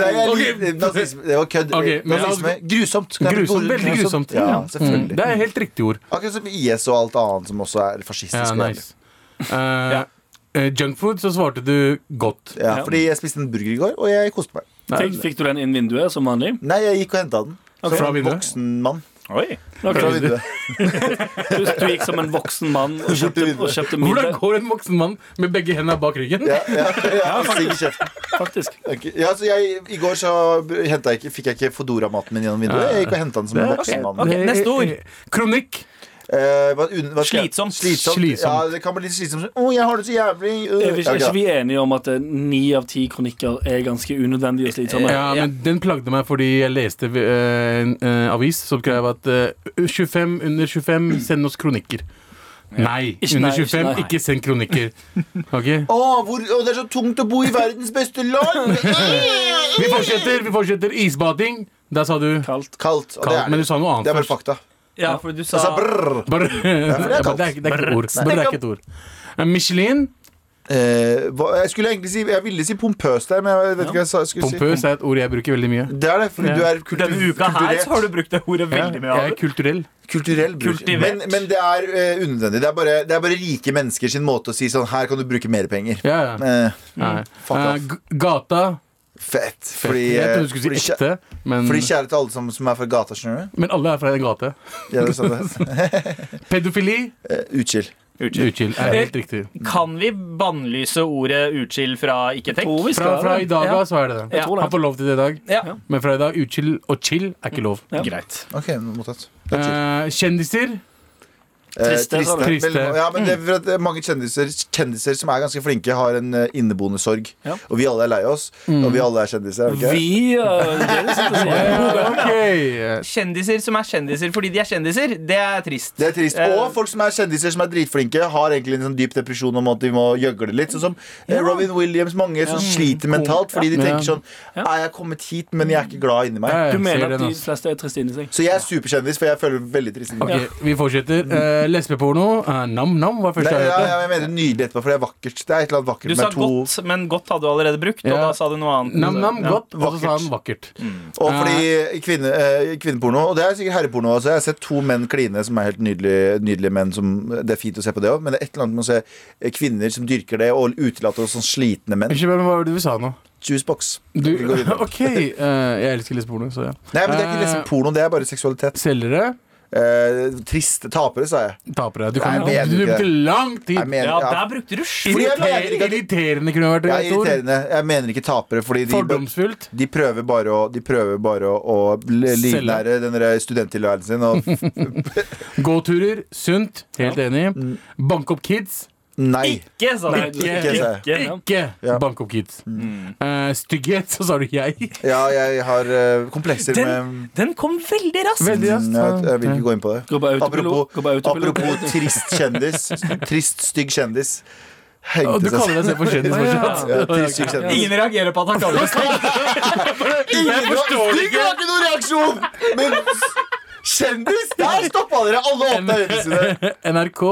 S3: kødder. Jeg liker det. Jeg liker-
S2: Ok.
S3: nazisme- Det var kødd.
S2: Ok, men la oss-
S3: Nazisme. Grusomt. Kan jeg bruke
S2: Grusomt,
S3: ordet
S2: veldig grusomt.
S3: Ja,
S2: Mm.
S3: selvfølgelig.
S2: Det er helt riktig ord.
S3: Akkurat som IS og alt annet som også er fascistisk.
S2: Ja,
S3: eller?
S2: nice. Eh, eh, Junkfood, så svarte du godt.
S3: ja, fordi jeg spiste en burger i går, og jeg koste meg.
S4: Fikk, fikk du den inn vinduet som vanlig?
S3: Nei, jeg gikk og henta den.
S2: Ok. Fra
S3: Som en
S2: vinduet?
S3: voksen mann.
S5: Oi.
S4: Ok,
S3: Fra vinduet.
S4: Du, du gikk som en voksen mann og kjøpte, og kjøpte
S2: Hvordan
S4: middag,
S2: går en voksen mann med begge hendene bak ryggen?
S3: Ja, ja, ja, stig i kjeften.
S4: faktisk.
S3: Ok, Ja, så jeg, I går så hentet jeg ikke, fikk jeg ikke Fodora-maten min gjennom vinduet. Jeg gikk og hentet den som en voksen mann.
S5: ok. neste ord.
S2: Kronikk.
S3: Eh, hva- un- hva skal jeg-
S5: Slitsomt.
S3: slitsomt.
S2: Slitsomt.
S3: Ja, det kan bli litt slitsomt. Å, jeg har det så jævlig. Uh.
S4: Er Eh, vi, er
S3: Ja,
S4: ikke
S3: ok,
S4: vi enige om at eh, ni av ti kronikker er ganske unødvendige og slitsomme?
S2: Ja,
S5: Ja.
S2: men Den plagde meg fordi jeg leste eh, en eh, avis som skrev at eh, 25 under 25, send oss kronikker. Nei,
S4: Ikke nei,
S2: under
S4: ikke
S2: 25,
S4: nei.
S2: ikke send kronikker. Ok?
S3: da. Å, hvor, å, det er så tungt å bo i verdens beste land!
S2: Vi fortsetter. vi fortsetter Isbading. Der sa du
S4: Kaldt.
S3: Kaldt. Og det
S2: kaldt,
S3: er
S2: men du
S3: det.
S2: sa noe annet
S3: Det er bare
S2: først.
S3: fakta.
S5: Ja, for du
S3: Jeg sa
S5: sa
S3: brrr.
S2: Bare, ja, men det, er
S3: kaldt.
S2: ikke- det er ikke et ord. Bare, det er ikke et ord. Eh, Michelin,
S3: Eh, hva, jeg skulle egentlig si Jeg ville si pompøs der, men jeg vet ikke hva jeg sa, jeg skulle si.
S2: pompøs, er et ord jeg bruker veldig mye.
S3: Det er det, fordi
S2: Ja.
S3: du er kultur,
S5: Denne uka her så har du brukt det ordet veldig mye.
S2: Jeg er
S5: Av.
S2: kulturell.
S3: Kulturell bruk. Men,
S5: Kultivert.
S3: men det er eh, unødvendig. Det er, bare, det er bare rike mennesker sin måte å si sånn Her kan du bruke mer penger.
S2: Ja, ja.
S3: Eh,
S2: Nei.
S3: fuck
S2: Eh,
S3: off.
S2: g- gata
S3: fett. Fordi,
S2: Jeg
S3: eh,
S2: trodde du skulle
S3: fordi,
S2: si
S3: kjæ-
S2: ekte, men,
S3: fordi kjære til alle som, som er fra gata, skjønner du.
S2: men alle er fra en gate.
S3: Ja, det er sånn det.
S2: Pedofili
S3: Eh, Utskill.
S2: Utskill er helt riktig.
S5: Kan vi bannlyse ordet utskill fra ikke tenk?
S4: Tror vi
S2: Fra,
S4: skal
S2: fra i dag
S5: Ja.
S2: av så er det det.
S5: Jeg tror det.
S2: Han får lov til det i dag.
S5: Ja.
S2: Men fra i dag, utskill og chill er ikke lov.
S4: Ja.
S5: Greit.
S3: Ok, mottatt. Det er chill.
S2: Eh, kjendiser.
S3: Eh,
S4: triste, sa du.
S3: Veldig
S2: Triste.
S3: mange- Ja, men det er for at eh, mange kjendiser, kjendiser som er ganske flinke, har en eh, inneboende sorg.
S4: Ja.
S3: Og vi alle er lei oss.
S2: Mm.
S3: Og vi alle er kjendiser. er vi ikke?
S4: Vi eh, det er det som det sier.
S2: Ja, ok.
S5: Kjendiser som er kjendiser fordi de er kjendiser, det er trist.
S3: Det er trist.
S2: Eh,
S3: Og folk som er kjendiser som er dritflinke, har egentlig en sånn dyp depresjon om at de må gjøgle litt. Sånn som eh, Robin Williams. Mange som sliter mentalt fordi de tenker sånn Er jeg kommet hit, men jeg er ikke glad inni meg.
S2: Ja, jeg
S4: Du
S2: ser
S4: mener
S2: den,
S4: at de
S2: altså.
S4: fleste er triste inni seg?
S3: Så jeg er superkjendis, for jeg føler veldig trist inni
S2: Ok,
S3: meg.
S2: Vi fortsetter. Eh, lesbeporno. eh, Nam-nam var
S3: Det,
S2: første jeg
S3: ja,
S2: hørte.
S3: ja, jeg mener nydelig etterpå, for det er vakkert. Det er et eller annet vakkert
S5: Du sa
S3: med to
S5: godt, men godt hadde du allerede brukt, og
S2: Ja.
S5: da sa du noe annet.
S2: Nam-nam,
S5: Ja.
S2: godt. Og så sa
S3: Vakkert. Mm.
S2: han vakkert.
S3: Og fordi kvinne, eh, kvinneporno, og det er sikkert herreporno også, jeg har sett to menn kline som er helt nydelige, nydelige menn som Det er fint å se på det òg, men det er et eller annet med å se eh, kvinner som dyrker det, og utelater oss som slitne menn.
S2: Unnskyld, men hva var det du sa nå?
S3: Juicebox.
S2: Du,
S3: Vi går videre.
S2: ok, eh, jeg elsker lesbeporno, så ja.
S3: Nei, men det er ikke
S2: Eh,
S3: liksom porno, det er bare seksualitet.
S2: Selgere,
S3: Eh, triste tapere, sa jeg.
S2: tapere. Du
S3: Nei,
S2: kan
S3: jeg mener
S2: du
S3: ikke det.
S2: brukte lang tid.
S3: Jeg mener,
S5: Ja,
S3: ja,
S5: der brukte du skyld.
S3: Fordi jeg mener
S2: Irriter-
S3: ikke at de-
S2: Irriterende kunne vært
S3: ja,
S2: et ord.
S3: irriterende. Jeg mener ikke tapere, fordi de,
S2: Fordomsfullt.
S3: de prøver bare å, de prøver bare å, å livnære den der studenttilværelsen sin. Og
S2: Gåturer. Sunt. Helt enig.
S3: Mm.
S2: Bank opp kids.
S3: nei.
S5: Ikke, sånn. sa du.
S4: Nei, du-
S2: Ikke,
S3: sa jeg.
S5: Ikke.
S2: Ikke
S3: Ja.
S2: bank opp kids. Eh, stygghet, så sa du jeg.
S3: Ja, jeg har eh, komplekser med
S5: Den, den kom veldig raskt.
S2: Veldig raskt.
S3: Mm, Jeg, jeg vil ikke gå inn på det.
S4: Gå på autopilot. Gå på
S3: Apropos,
S4: autopilot.
S3: apropos trist kjendis. Trist, stygg kjendis.
S2: Og du
S3: Hengte
S2: kaller deg selv for kjendis fortsatt?
S3: Ja, trist, stygg kjendis.
S5: Ingen reagerer på at han kaller det stygg.
S3: Ingen
S2: forstår det
S3: Stygg var ikke noen reaksjon! Men s- kjendis, der stoppa dere! Alle åpna øynene sine.
S2: NRK,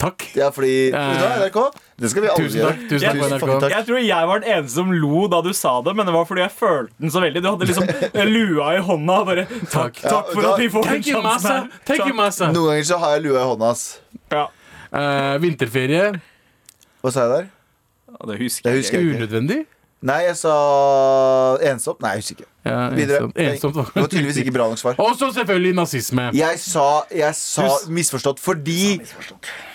S2: takk.
S3: Ja, fordi Vet du hva, NRK? Det skal vi alle
S2: Tusen takk,
S3: gjøre.
S2: tusen takk,
S3: Tusen
S2: NRK.
S3: fucking takk.
S5: Jeg tror jeg var den eneste som lo da du sa det, men det var fordi jeg følte den så veldig. Du hadde liksom lua i hånda og bare Takk, takk for at vi får den
S2: Thank you,
S5: sjansen
S2: massa.
S5: her.
S2: Thank you,
S5: Takk.
S2: massa.
S3: Noen ganger så har jeg lua i hånda, ass.
S5: Ja.
S2: Eh, vinterferie.
S3: Hva sa jeg der?
S5: Ja, Det husker
S3: Jeg
S5: jeg.
S3: husker ikke.
S2: Unødvendig.
S3: Nei, jeg sa ensom. Nei, jeg husker ikke.
S2: Ja,
S3: Videre.
S2: ensomt. ensomt
S3: Det var tydeligvis ikke bra nok svar.
S2: Og så selvfølgelig nazisme.
S3: Jeg sa, jeg sa misforstått fordi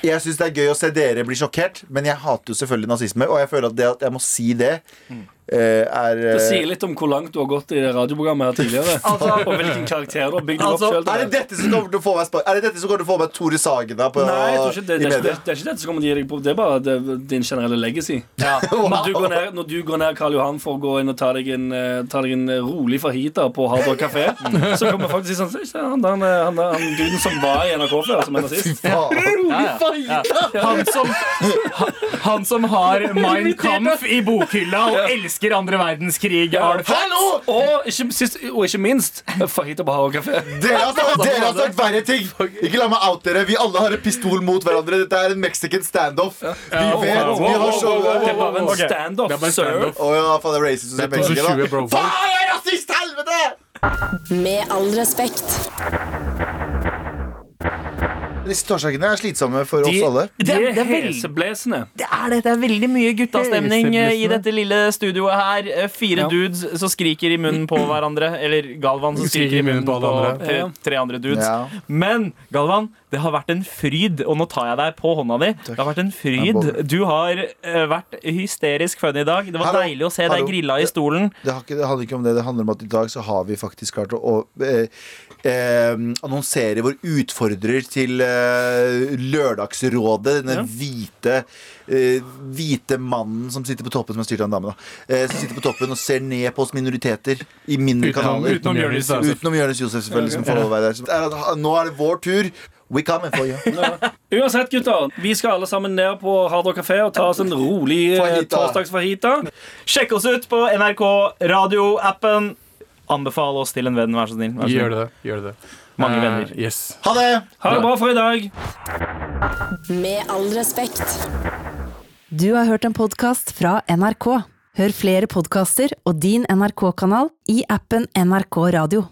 S3: jeg syns det er gøy å se dere bli sjokkert, men jeg hater jo selvfølgelig nazisme, og jeg føler at det at jeg må si det eh, er
S4: Det
S3: eh,
S4: sier litt om hvor langt du har gått i det radioprogrammet her tidligere.
S5: Altså-
S4: og hvilken karakter du har bygd deg
S5: Altså,
S4: opp
S3: er det
S4: sjøl.
S3: dette som kommer til å få meg spa- Er det dette som kommer til å få meg Tore Sagen da på,
S4: Nei, jeg tror ikke
S3: i
S4: det, det, er ikke- det,
S3: media?
S4: er- det er ikke dette som kommer til å gi deg på. Det er bare det, din generelle legacy. Når, du går ned, når du går ned Karl Johan for å gå inn og ta deg en, eh, ta deg en rolig fajita på Hardrock kafé, så kommer faktisk sånn Se, han, han, han, han guden som var i NRK før, som er nazist.
S3: Faen.
S5: Han som, han, han som har Mein Kampf i bokhylla og elsker andre verdenskrig. Har det
S4: Hallo! Og ikke, sist, og ikke minst fajita på Hardrock kafé.
S3: Dere har sagt, dere har sagt verre ting! Ikke la meg out dere. Vi alle har en pistol mot hverandre. Dette er en mexican standoff. Vi vet, vi har så
S4: Det er bare en
S5: Ok.
S2: Det er
S4: standoff,
S2: bare
S4: sir.
S2: standoff.
S3: Å ja, faen, det er racist å si
S2: Det er 2020,
S3: mexican, da.
S2: Sånn bro.
S3: Faen, jeg er rasist! Helvete!
S6: Med all respekt.
S3: Disse torsdagene er slitsomme for oss
S4: De-
S3: alle.
S4: De
S5: Det- det
S4: er
S5: er veldig-
S4: heseblesende.
S5: Det er, det, det er veldig mye guttastemning eh, i dette lille studioet her. Eh, Fire
S4: Ja.
S5: dudes som skriker i munnen på hverandre. Eller Galvan som skriker i munnen på,
S2: alle
S5: tre,
S4: andre.
S5: tre andre dudes.
S3: Ja.
S5: Men Galvan, det har vært en fryd, og nå tar jeg deg på hånda di. Det har vært en
S3: Jeg
S5: fryd.
S3: bobler.
S5: Du har eh, vært hysterisk funny i dag. Det var
S3: Hallo.
S5: deilig å se
S3: Hallo.
S5: deg grilla i stolen.
S3: Det, har ikke, det handler ikke om det. Det handler om at i dag så har vi faktisk klart å, å eh, eh, annonsere vår utfordrer til eh, Lørdagsrådet. Denne hvite eh, Hvite mannen som sitter på toppen, som er styrt av en dame, da. Eh, som sitter på toppen og ser ned på oss minoriteter i mindre
S2: Utenom,
S3: kanaler.
S2: utenom Jonis. altså.
S3: Utenom Jonis Josef, selvfølgelig, som får lov å være der. Så det Er at, nå er det vår tur. We come and for you.
S4: Uansett, gutter. Vi skal alle sammen ned på Hardrock kafé og ta oss en rolig eh,
S3: Fajita.
S4: torsdagsfajita.
S5: Sjekk oss ut på NRK radioappen. Anbefal oss til en venn, vær så snill. Vær så snill.
S2: Gjør det. Gjør det.
S5: Mange
S2: Eh,
S5: venner.
S2: Yes.
S3: Ha det!
S4: Ha det bra for i dag.
S6: Med all respekt.
S1: Du har hørt en podkast fra NRK. Hør flere podkaster og din NRK-kanal i appen NRK Radio.